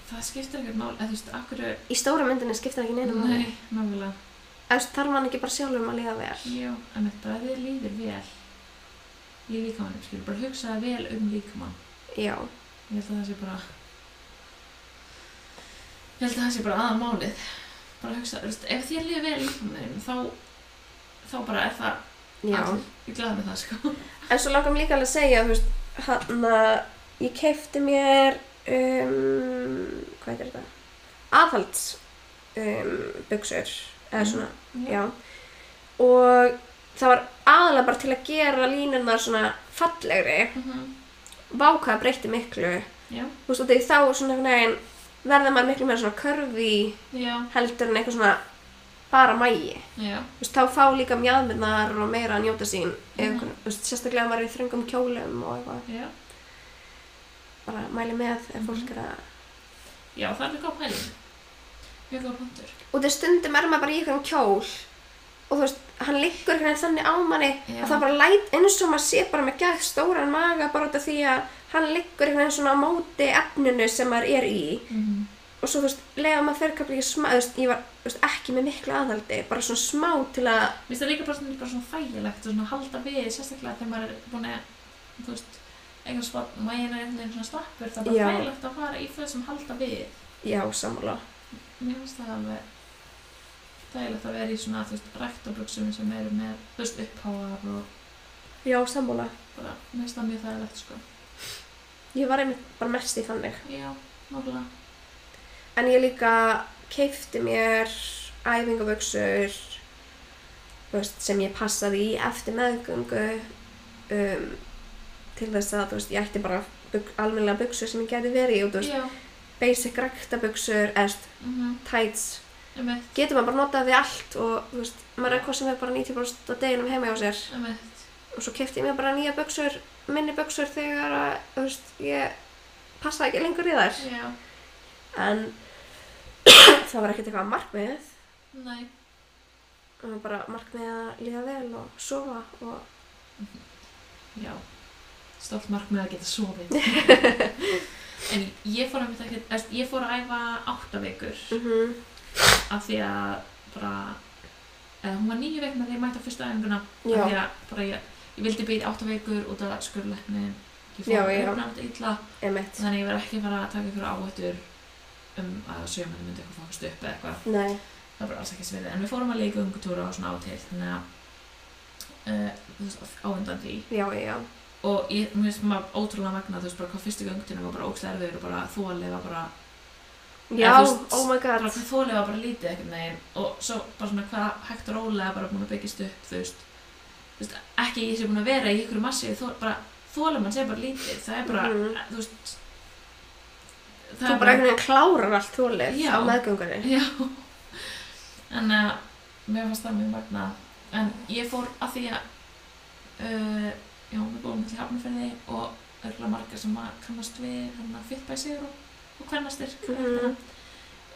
Speaker 2: það skiptir ekkert mál, eða þú veist, akkur er,
Speaker 1: Í stóra myndinni skiptir ekki neina máli.
Speaker 2: nei, náttúrulega,
Speaker 1: Eftir þarf hann ekki bara sjálfur um að liða vel.
Speaker 2: já, en þetta bara þið líður vel í líkamannum, skilur, bara hugsaði vel um líkamann,
Speaker 1: Já,
Speaker 2: ég held að það sé bara, ég held að það sé bara aða málið, bara hugsaði, þú veist, ef þér líður vel í líkamanum, þá, þá bara er það,
Speaker 1: já.
Speaker 2: allir- ég glæði með það, sko,
Speaker 1: En svo langar mér líka alveg að segja, þú veist, hann að ég keipti mér, um, hvað er þetta? Aðhalds um, buksur, eða
Speaker 2: Mm,
Speaker 1: svona, já. Og það var aðalega bara til að gera línunar svona fallegri.
Speaker 2: Mhm.
Speaker 1: Vá hvað breytti miklu.
Speaker 2: já,
Speaker 1: Þú veist, og því þá svona einhvern veginn verða maður miklu meira svona körfi
Speaker 2: já,
Speaker 1: heldur en eitthvað svona bara mægi.
Speaker 2: já,
Speaker 1: Þú veist, þá fá líka mjadmyrnar og meira að njóta sín ef,
Speaker 2: Mhm.
Speaker 1: mm. veist, sérstaklega ef maður er í þröngum kjólum og eitthvað,
Speaker 2: já.
Speaker 1: bara mæli með ef fólk er að
Speaker 2: Já, það er mjög góð pæling. Mjög góð punktur.
Speaker 1: og þegar stundum er maður bara í einhverjum kjól og þú veist, hann liggur einhvern veginn þannig á manni
Speaker 2: Já.
Speaker 1: að það bara læt eins og maður sé bara með gæð stóran maga bara út af því að hann liggur einhvern veginn svona á móti efninu sem maður er í
Speaker 2: Mm -hmm.
Speaker 1: og svo þú veist, lega maður fyrir kapli ekki smá, þú veist, ég var þú veist, ekki með miklu aðhaldi, bara svona smá til að,
Speaker 2: Mér finnst það líka bara svona, bara svona þægilegt og svona halda við, sérstaklega þegar maður er búin að, þú veist, einhvern spott, maginn er einhvern veginn svona slappur, það er
Speaker 1: Já.
Speaker 2: bara þægilegt að fara í þau sem halda við.
Speaker 1: já, sammála
Speaker 2: Mér finnst það alveg þægilegt að vera í svona, þú veist, ræktabruksum sem eru með, þú veist, uppháar og
Speaker 1: já, sammála,
Speaker 2: bara, mér finnst það mjög þægilegt, sko.
Speaker 1: ég var einmitt bara mest í þannig
Speaker 2: Já, nákvæmlega.
Speaker 1: En ég líka keifti mér æfingavöksur veist, sem ég passaði í eftir meðgöngu um, til þess að þú veist, ég ætti bara bug, almennilega buksur sem ég gæti verið í og þú veist,
Speaker 2: Já,
Speaker 1: basic ræktabuxur, eðst,
Speaker 2: mhm,
Speaker 1: tights
Speaker 2: einmitt,
Speaker 1: getur maður bara notað við allt og þú veist, maður er hvað sem er bara 90% á deginum heima hjá sér
Speaker 2: einmitt,
Speaker 1: og svo kefti ég mér bara nýja buxur, minni buxur þegar að, þú veist, ég passa ekki lengur í þær
Speaker 2: já,
Speaker 1: en það var ekkert eitthvað markmið
Speaker 2: nei,
Speaker 1: það var bara markmið að líða vel og sofa og
Speaker 2: já. Stolt markmið að geta sofið. en ég fór að, ekki, eðst, ég fór að æfa átta vikur
Speaker 1: mm -hmm.
Speaker 2: Mhm. af því að bara, eða hún var nýju veikna þegar ég mætti á fyrstu æfinguna.
Speaker 1: Já.
Speaker 2: Af því að bara ég, ég vildi býta átta vikur út af skurðleikni. Ég fór
Speaker 1: Já,
Speaker 2: að
Speaker 1: já.
Speaker 2: öfna átta illa.
Speaker 1: emitt
Speaker 2: Þannig að ég var ekki að fara að taka ykkur áhættur um að sjömanni myndi eitthvað fangast upp eða eitthvað.
Speaker 1: nei,
Speaker 2: Það var alls ekki sviðið. En við fórum að leika ungutúra og svona átil, þannig að uh, þú veist, á undan því.
Speaker 1: já, já,
Speaker 2: Og ég, mér finnst maður ótrúlega magna, þú veist, bara hvað fyrstu göngutina var bara ókslega erfiður og bara þólið var bara,
Speaker 1: já,
Speaker 2: þú veist,
Speaker 1: oh my god
Speaker 2: bara hvað þólið var bara lítið ekkert neginn. Og svo bara svona hvað hægt og rólega bara búin að byggjast upp, þú veist. Þú veist, ekki ég sé búin að vera í ykkur massíu, þó, bara þólið mann sé bara lítið, það er bara,
Speaker 1: Mhm.
Speaker 2: þú veist, það
Speaker 1: þú bara einhvern veginn klárar allt þólið
Speaker 2: Já.
Speaker 1: á meðgöngunni
Speaker 2: Já, en uh, mér fannst það mjög magna en ég fór að því að uh, já, við búum til hafnafyrði og örgulega margar sem að kannast við hérna fitt bæ sigur og, og kvennastyrk
Speaker 1: Mhm.
Speaker 2: hérna.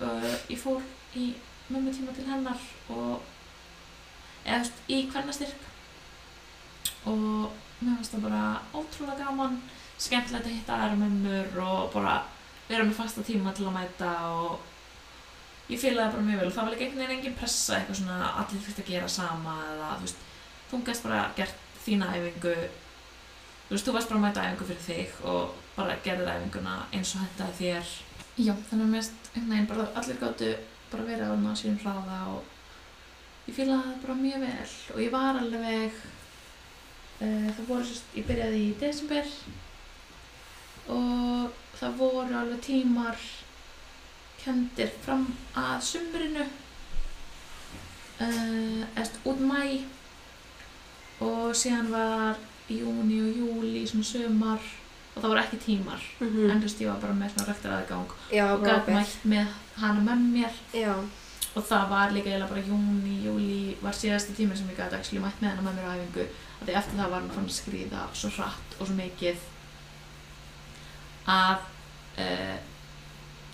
Speaker 2: uh, ég fór í mömmu tíma til hennar og eða þú veist, í kvennastyrk og mér fannst það bara ótrúlega gaman skemmtilegt að hitta aðra mömmur og bara vera með fasta tíma til að mæta og ég fílaði bara mjög vel og það var líka einhvern veginn engin pressa eitthvað svona að allir þurfti að gera sama eða þú veist, þú gæst bara gert þína æfingu þú veist, þú varst bara að mæta æfingu fyrir þig og bara gerðir æfinguna eins og hendaði þér Já, þannig að mér finnst einhvern veginn bara allir gáttu bara verið á ná sínum hraða og ég fílaði það bara mjög vel og ég var alveg uh, það voru sérst, ég byrjaði í desember og það voru alveg tímar kendir fram að sumrinu uh, eftir út mæ og síðan var júni og júli svona sumar og það voru ekki tímar
Speaker 1: mm
Speaker 2: en þú veist ég var bara með svona rektaraðgang
Speaker 1: já,
Speaker 2: Mhm. og
Speaker 1: bara
Speaker 2: gaf mætt með hana með mér
Speaker 1: já,
Speaker 2: og það var líka eiginlega bara júni, júli var síðasti tíminn sem ég gæti actually mætt með hana með mér á æfingu af því eftir það var hann fann að skrýða svo hratt og svo mikið að uh,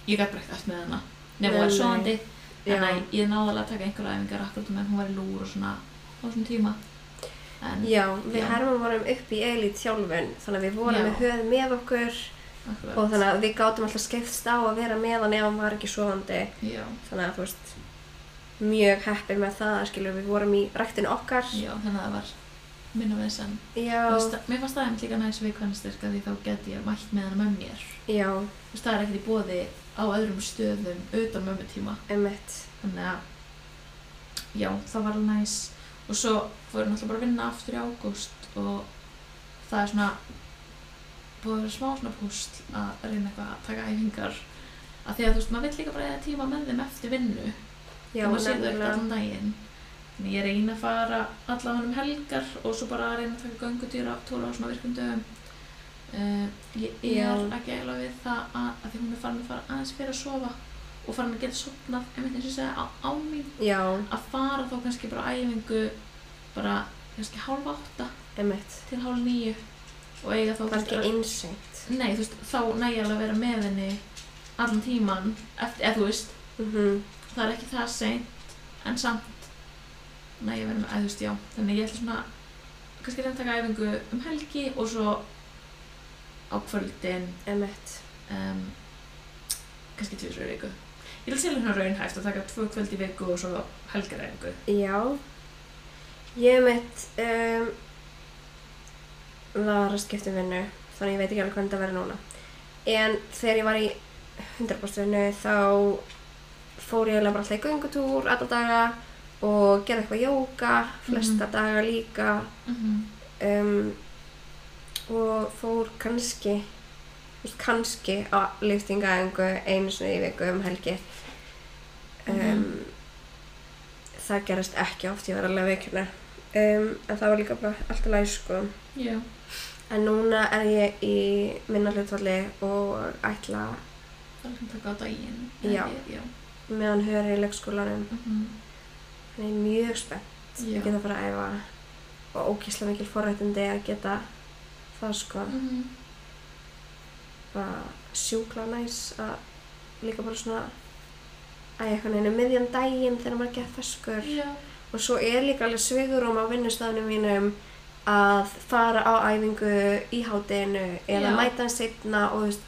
Speaker 2: ég gæti bara ekkert eftir með hana nefnum
Speaker 1: Nei,
Speaker 2: það er
Speaker 1: nei.
Speaker 2: svoandi
Speaker 1: já,
Speaker 2: en að ég náði alveg að taka einhverja æfingar akkurat meðan hún var í lúr og svona á svona tíma en
Speaker 1: já við
Speaker 2: Já.
Speaker 1: hermum vorum upp í eilít þjálfun þannig að við vorum
Speaker 2: Já.
Speaker 1: með höð með okkur
Speaker 2: akkurat
Speaker 1: og þannig að við gátum alltaf skipst á að vera með hann ef hann var ekki sofandi
Speaker 2: já,
Speaker 1: þannig að þú veist mjög heppir með það, skilur við vorum í ræktinu okkar
Speaker 2: já, þannig að það var minna með þessan
Speaker 1: já,
Speaker 2: Þú veist, Mér fannst það einmitt líka næs við kvennstyrk að því þá geti ég mætt með hana með mér.
Speaker 1: já,
Speaker 2: Þú veist, það er ekkert í bóði á öðrum stöðum utan mömmutíma.
Speaker 1: emitt
Speaker 2: Þannig að, já, það var alveg næs. Og svo fór ég náttúrulega bara að vinna aftur í ágúst og það er svona búið að vera smá svona púst að reyna eitthvað að taka æfingar. Af því að þú veist, maður vill líka bara eða tíma með þeim eftir vinnu.
Speaker 1: já,
Speaker 2: þannig að séu þau ekkert
Speaker 1: nefnilega.
Speaker 2: allan daginn þannig ég reyna að fara allavega um helgar og svo bara að reyna að taka göngutýra tóra á svona virkum dögum uh, ég er
Speaker 1: Já.
Speaker 2: að gæla við það að, að því hún er farin að fara aðeins fyrir að sofa og farin að geta sopnað einmitt eins og ég segja á, á mín
Speaker 1: já,
Speaker 2: að fara þá kannski bara á æfingu bara kannski hálf átta
Speaker 1: emitt
Speaker 2: til hálf níu og eiga þá
Speaker 1: það er ekki
Speaker 2: að-
Speaker 1: einsætt
Speaker 2: nei þú veist þá nægja alveg að vera með henni allan tíman eftir, eða þú veist
Speaker 1: mm
Speaker 2: það er ekki það seint en samt nei, ég verður með, að þú veist, já þannig ég ætla svona, kannski reyna að taka æfingu um helgi og svo á kvöldin
Speaker 1: emitt
Speaker 2: um, kannski tvisur í viku ég vil selja hérna raunhæft að taka tvö kvöld í viku og svo helgaræfingu
Speaker 1: já ég mitt um, það var að skipta um vinnu þannig ég veit ekki alveg hvernig það verður núna en þegar ég var í 100% vinnu þá fór ég eiginlega bara alltaf í göngutúr alla daga og gerði eitthvað jóka flesta daga líka
Speaker 2: mm -hmm.
Speaker 1: um, og fór kannski þú veist, kannski á liftingaðingu einu sinni í viku um helgi um,
Speaker 2: Mhm.
Speaker 1: það gerast ekki oft ég var alveg veikina um, en það var líka bara allt í læg sko
Speaker 2: já,
Speaker 1: en núna er ég í minna hlutvalli og ætla
Speaker 2: það er svona taka á daginn
Speaker 1: Já.
Speaker 2: Ég, já.
Speaker 1: meðan höfður í leikskólanum
Speaker 2: Mm -hmm.
Speaker 1: Nei, mjög spennt
Speaker 2: já.
Speaker 1: að geta að fara að æfa og ókísla mikil forrættindi að geta það sko
Speaker 2: Mhm.
Speaker 1: bara sjúkla næs að líka bara svona að eitthvað neina miðjan daginn þegar maður er gett feskur
Speaker 2: já.
Speaker 1: og svo er líka alveg svigurum á vinnustafnum mínum að fara á æfingu í hátinu eða
Speaker 2: Já.
Speaker 1: mæta hann setna og þú veist,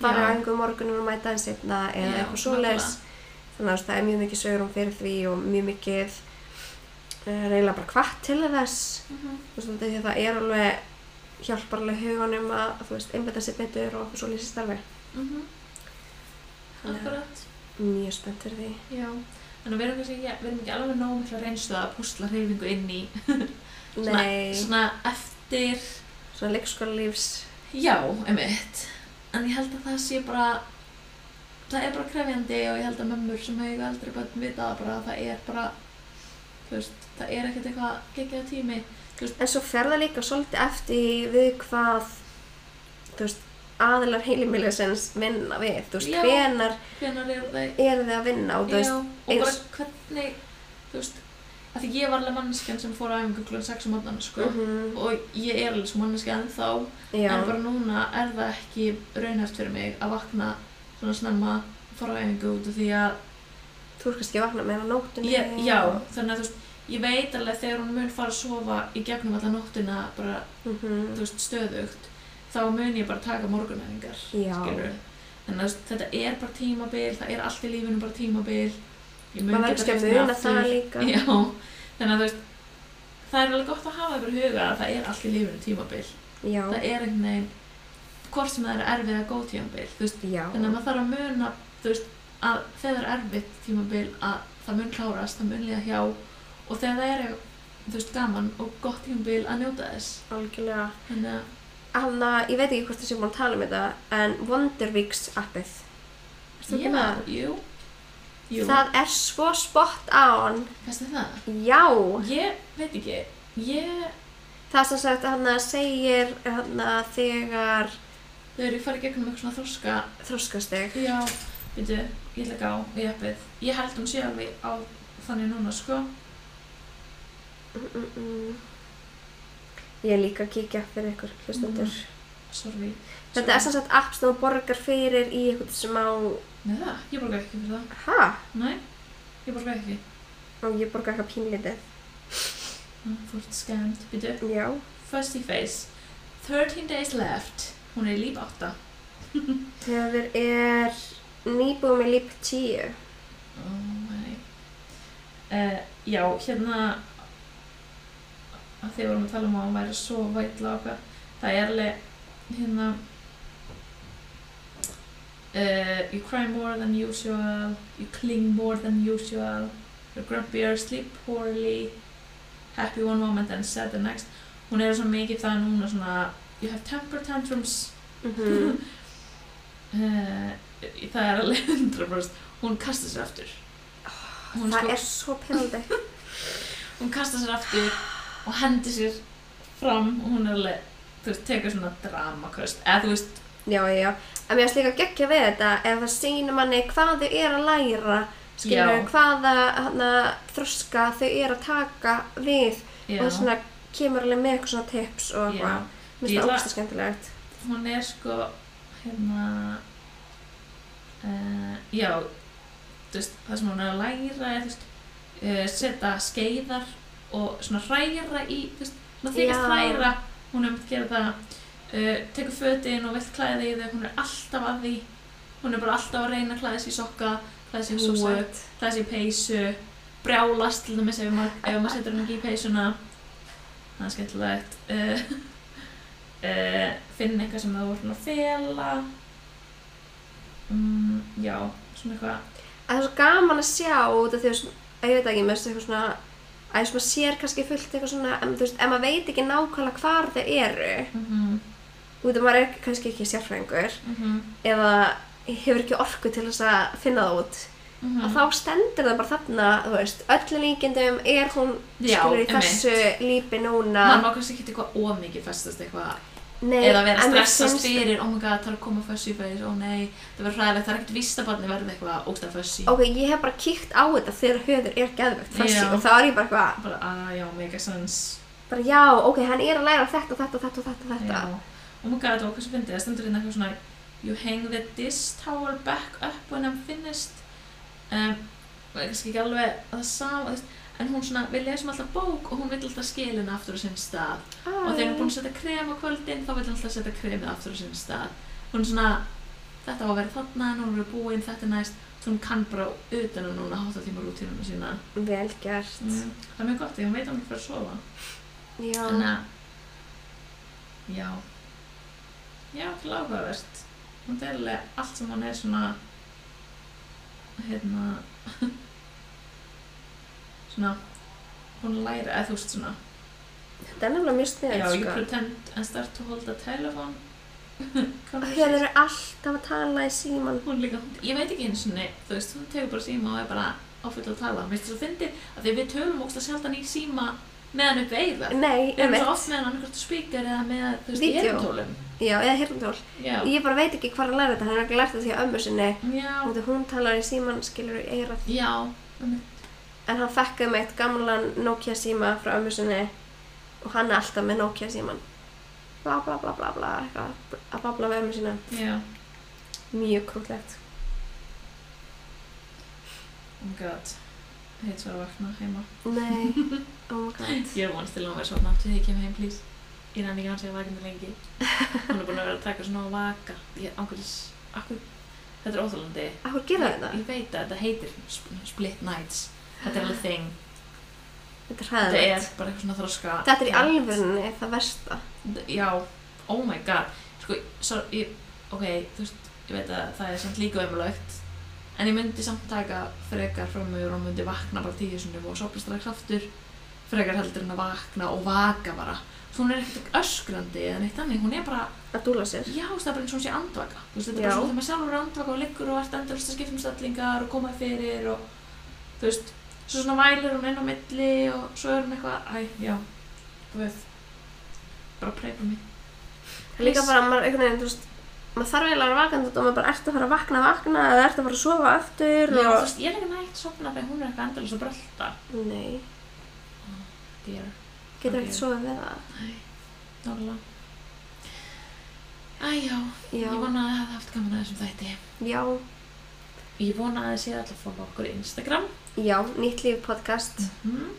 Speaker 1: fara
Speaker 2: Já.
Speaker 1: á æfingu morgunum og mæta hann setna eða
Speaker 2: Já,
Speaker 1: eitthvað svoleiðis þannig að þú veist, það er mjög mikið svigurum fyrir því og mjög mikið uh, reyla bara hvart til þess
Speaker 2: Mhm.
Speaker 1: þú veist, af því að það er alveg hjálpar alveg huganum að þú veist, einbæta sér betur og eitthvað svoleiðis í starfi
Speaker 2: Mhm.
Speaker 1: Þannig að
Speaker 2: Akkurat.
Speaker 1: mjög spennt fyrir því
Speaker 2: Já. Þannig að við erum kannski ekki, við erum ekki alveg nógu mikla reynslu að púsla hreyfingu inn í
Speaker 1: Nei, svona,
Speaker 2: svona eftir
Speaker 1: svona leikskóla lífs
Speaker 2: Já, emitt. En ég held að það sé bara, það er bara krefjandi og ég held að mömmur sem hefur aldrei börn vita það bara að það er bara, þú veist, það er ekkert eitthvað geggjað tími.
Speaker 1: En svo fer það líka svolítið eftir í við hvað þú veist, aðilar heilimilisins vinna við, þú veist,
Speaker 2: Já.
Speaker 1: hvenar
Speaker 2: Hvenær er það,
Speaker 1: eru þið að vinna og þú
Speaker 2: já,
Speaker 1: veist,
Speaker 2: og bara
Speaker 1: eins-
Speaker 2: hvernig, þú veist, að því ég var alveg manneskjan sem fór á æfingu klukkan 6 á mótnana, sko.
Speaker 1: mhm,
Speaker 2: Og ég er alveg svo manneskja ennþá,
Speaker 1: já,
Speaker 2: en bara núna er það ekki raunhæft fyrir mig að vakna svona snemma, fara á æfingu út af því að
Speaker 1: þú veist kannski að vakna meira á nóttunni
Speaker 2: ég, já, þannig að þú veist ég veit alveg þegar hún mun fara að sofa í gegnum alla nóttina bara,
Speaker 1: mhm,
Speaker 2: þú veist, stöðugt þá mun ég bara taka morgunæfingar
Speaker 1: Já.
Speaker 2: skilurðu. þannig að þú veist, þetta er bara tímabil það er allt í lífinu bara tímabil ég
Speaker 1: Maður verður kannski að
Speaker 2: hreinna
Speaker 1: muna það líka.
Speaker 2: já, þannig að þú veist það er alveg gott að hafa yfir huga að það er allt í lífinu tímabil
Speaker 1: já,
Speaker 2: það er einhvern veginn hvort sem það er erfið að góð tímabil þú veist,
Speaker 1: já,
Speaker 2: þannig að maður þarf að muna þú veist, að þegar það er erfitt tímabil að það mun klárast, það mun liða hjá og þegar það er þú veist, gaman og gott tímabil að njóta þess
Speaker 1: algjörlega
Speaker 2: þannig að,
Speaker 1: Hanna, ég veit ekki hvort þessi búin að tala um þetta en Wonderweeks appið Ertu ekki
Speaker 2: já,
Speaker 1: með það?
Speaker 2: jú jú,
Speaker 1: Það er svo spot on
Speaker 2: fæstu það?
Speaker 1: Já,
Speaker 2: ég veit ekki, ég
Speaker 1: Það sem sagt hann segir hann þegar
Speaker 2: þau eru farið gegnum eitthvað svona þroska
Speaker 1: þroskast þig.
Speaker 2: já, veitu, ég ætla ekki á í appið, ég held hún sé alveg á þannig núna, sko
Speaker 1: Mm, mm, mm. Ég er líka að kíkja fyrir ykkur hlustendur.
Speaker 2: sorry,
Speaker 1: Þetta er sem sagt app sem þú borgar fyrir í eitthvað sem á,
Speaker 2: með það, ég borga ekki fyrir það
Speaker 1: ha?
Speaker 2: nei, ég borga ekki
Speaker 1: Og ég borga eitthvað pínlítið.
Speaker 2: Nú, þú ert skæmt, veitu
Speaker 1: Já.
Speaker 2: Fuzzy Face 13 Days Left Hún er í líf 8
Speaker 1: Þegar er nýbúið með líp 10.
Speaker 2: Oh my uh, Já, hérna að þið vorum að tala um að hún væri svo vætla okkar það er alveg hérna uh, You cry more than usual You cling more than usual You're grumpier, sleep poorly Happy one moment and sad the next Hún er svo mikið það núna svona You have temper tantrums
Speaker 1: Mm -hmm.
Speaker 2: Eh, það er alveg 100% hún kastar sér aftur hún,
Speaker 1: Það
Speaker 2: sko,
Speaker 1: er svo pyrrandi.
Speaker 2: hún kastar sér aftur og hendir sér fram og hún er alveg þú veist, tekur svona dramaköst eða þú veist,
Speaker 1: já, já, já. En mér finnst líka geggja við þetta ef það sýnir manni hvað þau er að læra, skilur
Speaker 2: Já.
Speaker 1: hvaða hana, þroska þau er að taka við
Speaker 2: já,
Speaker 1: og svona kemur alveg með eitthvað svona tips og
Speaker 2: já
Speaker 1: eitthvað. Mér
Speaker 2: Ég
Speaker 1: finnst það
Speaker 2: ætla-
Speaker 1: ógæsta skemmtilegt.
Speaker 2: hún er sko hérna uh, já þú veist, það sem hún er að læra er þú veist, uh, setja skeiðar og svona hræra í þú veist, svona þykist
Speaker 1: Já.
Speaker 2: hræra hún er um að gera það uh, tekur fötin og vill klæði í þau hún er alltaf að því hún er bara alltaf að reyna að klæða sér í sokka klæða sér í
Speaker 1: Svo
Speaker 2: húu,
Speaker 1: sætt.
Speaker 2: klæða sér í peysu brjálast til dæmis ef maður, ef maður setur hann ekki í peysuna það er skemmtilegt uh, uh, finna eitthvað sem það voru svona að fela mm, já, svona eitthvað
Speaker 1: Það er svo gaman að sjá út af því að svona- að ég veit ekki, mér finnst eitthvað svona að þess að maður sér kannski fullt eitthvað svona en þú veist, ef maður veit ekki nákvæmlega hvar þau eru
Speaker 2: mm -hmm,
Speaker 1: út af maður er kannski ekki sérfræðingur
Speaker 2: mm -hmm,
Speaker 1: eða hefur ekki orku til þess að finna það út
Speaker 2: mm
Speaker 1: að þá stendur það bara þarna, þú veist, öllu líkindum er hún
Speaker 2: Já,
Speaker 1: skilur í
Speaker 2: einmitt.
Speaker 1: þessu lípi núna
Speaker 2: maður má kannski ekki eitthvað ómikið festast eitthvað
Speaker 1: Nei,
Speaker 2: eða vera
Speaker 1: en mér
Speaker 2: stressast
Speaker 1: finnst-
Speaker 2: fyrir, oh my god, það er að koma fössi í fæðis, ó nei, það verður hræðilegt, það er ekkert víst að barni verði eitthvað ógstað fössi.
Speaker 1: Ok, ég hef bara kíkt á þetta þegar höður er geðvögt fassi
Speaker 2: Já.
Speaker 1: og þá er ég bara eitthvað,
Speaker 2: Bara, að já, mega sens.
Speaker 1: bara já, ok, hann er að læra þetta, þetta, þetta, þetta, þetta.
Speaker 2: Já. Oh my god, það var hvað sem fyndið, það stendur hérna eitthvað svona, you hang the dish towel back up when I'm finished. Um, og það er kannski ekki alveg það sama, þú veist, en hún svona, við lesum alltaf bók og hún vil alltaf skilina aftur á sinn stað. og þegar hún er búin að setja krem á kvöldin þá vil hún alltaf setja kremið aftur á sinni stað hún er svona, þetta á að vera þarna en hún er búin, þetta er næst Svo hún kann bara utan að núna hátta tíma rútínuna sína
Speaker 1: að... Vel gert.
Speaker 2: það er mjög gott, því hún veit að hún er fyrir að sofa
Speaker 1: Já.
Speaker 2: þannig að já já, til áhugavert hún dæli allt sem hún er svona hérna svona hún læra, eða þú veist svona
Speaker 1: Þetta er nefnilega mjög
Speaker 2: Já,
Speaker 1: sniðið,
Speaker 2: you
Speaker 1: sko.
Speaker 2: pretend and start to hold a telephone
Speaker 1: Þeir
Speaker 2: conversation.
Speaker 1: eru alltaf að tala í síman.
Speaker 2: Hún líka, ég veit ekki einu sinni, þú veist, hún tegur bara síma og er bara áfyllt að tala. Mér finnst það svo fyndið að því við tölum ógst að sjaldan í síma meðan upp eða.
Speaker 1: Nei,
Speaker 2: Við erum svo
Speaker 1: einmitt.
Speaker 2: oft meðan annarkvært speaker eða með, þú veist,
Speaker 1: Vídeó.
Speaker 2: ég erum tólum.
Speaker 1: Já, eða hirndól.
Speaker 2: Já.
Speaker 1: Ég bara veit ekki hvað að læra þetta, hann er ekki lært þetta því að ömmu sinni.
Speaker 2: Já.
Speaker 1: Hún, hún talar í síman, skilur í eirað.
Speaker 2: Já.
Speaker 1: En hann fekkaði með eitt gamlan Nokia síma frá ömmu sinni og hann er alltaf með Nokia síman. Bla bla bla bla bla, eitthvað, að babla með ömmu sína.
Speaker 2: Já.
Speaker 1: Mjög krútlegt.
Speaker 2: Oh my god. Heit svo að vakna heima.
Speaker 1: Nei, oh my god.
Speaker 2: Ég er vonast til að hún verði svona aftur því ég kem heim, please. Ég rann ekki hans að vakna lengi. Hún er búin að vera að taka svona á vaka. Ég, ángurðis, akkur, þetta er óþálandi.
Speaker 1: Akkur gera þetta?
Speaker 2: Ég, ég veit að þetta heitir sp- split nights. Þetta er alveg þing.
Speaker 1: Þetta er
Speaker 2: Þetta
Speaker 1: hræðilegt.
Speaker 2: er bara eitthvað svona þroska.
Speaker 1: Þetta er í alvörunni það versta.
Speaker 2: D- Já, oh my god. Sko, svo, ég, ok, þú veist, ég veit að það er samt líka umlögt. En ég myndi samt taka frekar frá mig og hún myndi vakna bara tíu sinni og sopna strax aftur. Frekar heldur en að vakna og vaka bara. Svo hún er ekkert öskrandi eða neitt annir, hún er bara
Speaker 1: Að dúla sér.
Speaker 2: Já, þú veist, það er bara eins og hún sé andvaka. Þú veist, þetta er bara
Speaker 1: Já.
Speaker 2: svona þegar maður sjálfur er andvaka og liggur og ert endurist að skipta um stellingar og koma þér fyrir og þú veist, svo svona vælir hún inn á milli og svo er hún eitthvað, æ, já, þú veist, bara um preypa mig.
Speaker 1: Það er líka bara, maður einhvern veginn, þú veist, maður þarf eiginlega að vera vakandi og maður bara ert að fara að vakna, vakna eða ert að fara að sofa aftur
Speaker 2: Já, þú
Speaker 1: og...
Speaker 2: veist, ég er ekki nægt sopna þegar hún er eitthvað endurist að brölda.
Speaker 1: Nei,
Speaker 2: Dear.
Speaker 1: getur
Speaker 2: Ok.
Speaker 1: ekkert sofið við það.
Speaker 2: Æ, nálega. Æ, já,
Speaker 1: Já,
Speaker 2: ég vona að það hefði haft gaman að þessum þætti.
Speaker 1: já,
Speaker 2: Ég vona að þið séð alltaf fólk okkur í Instagram.
Speaker 1: já, nýtt líf podcast.
Speaker 2: Mm.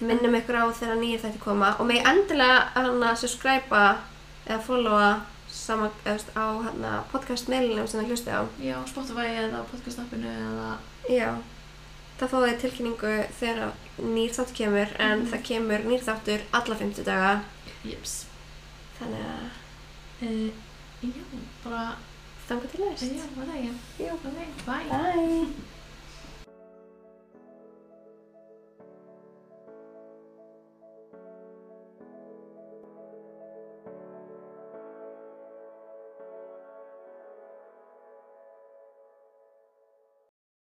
Speaker 1: Minnum ykkur á þegar nýjir þætti koma og megi endilega hann að subscriba eða followa sama, eða, þú veist, á hann að podcast mailinum sem það hlusti á.
Speaker 2: Já, Spotify eða podcast appinu eða
Speaker 1: Já, það fáið þið tilkynningu þegar nýr þáttur kemur en
Speaker 2: Mhm.
Speaker 1: það kemur nýr þáttur alla 50 daga.
Speaker 2: Jeps.
Speaker 1: Þannig að Eh,
Speaker 2: Uh, já, eh, bara,
Speaker 1: þanga til
Speaker 2: já,
Speaker 1: næst.
Speaker 2: var það ekki,
Speaker 1: Já.
Speaker 2: var það ekki, bye.
Speaker 1: Bye.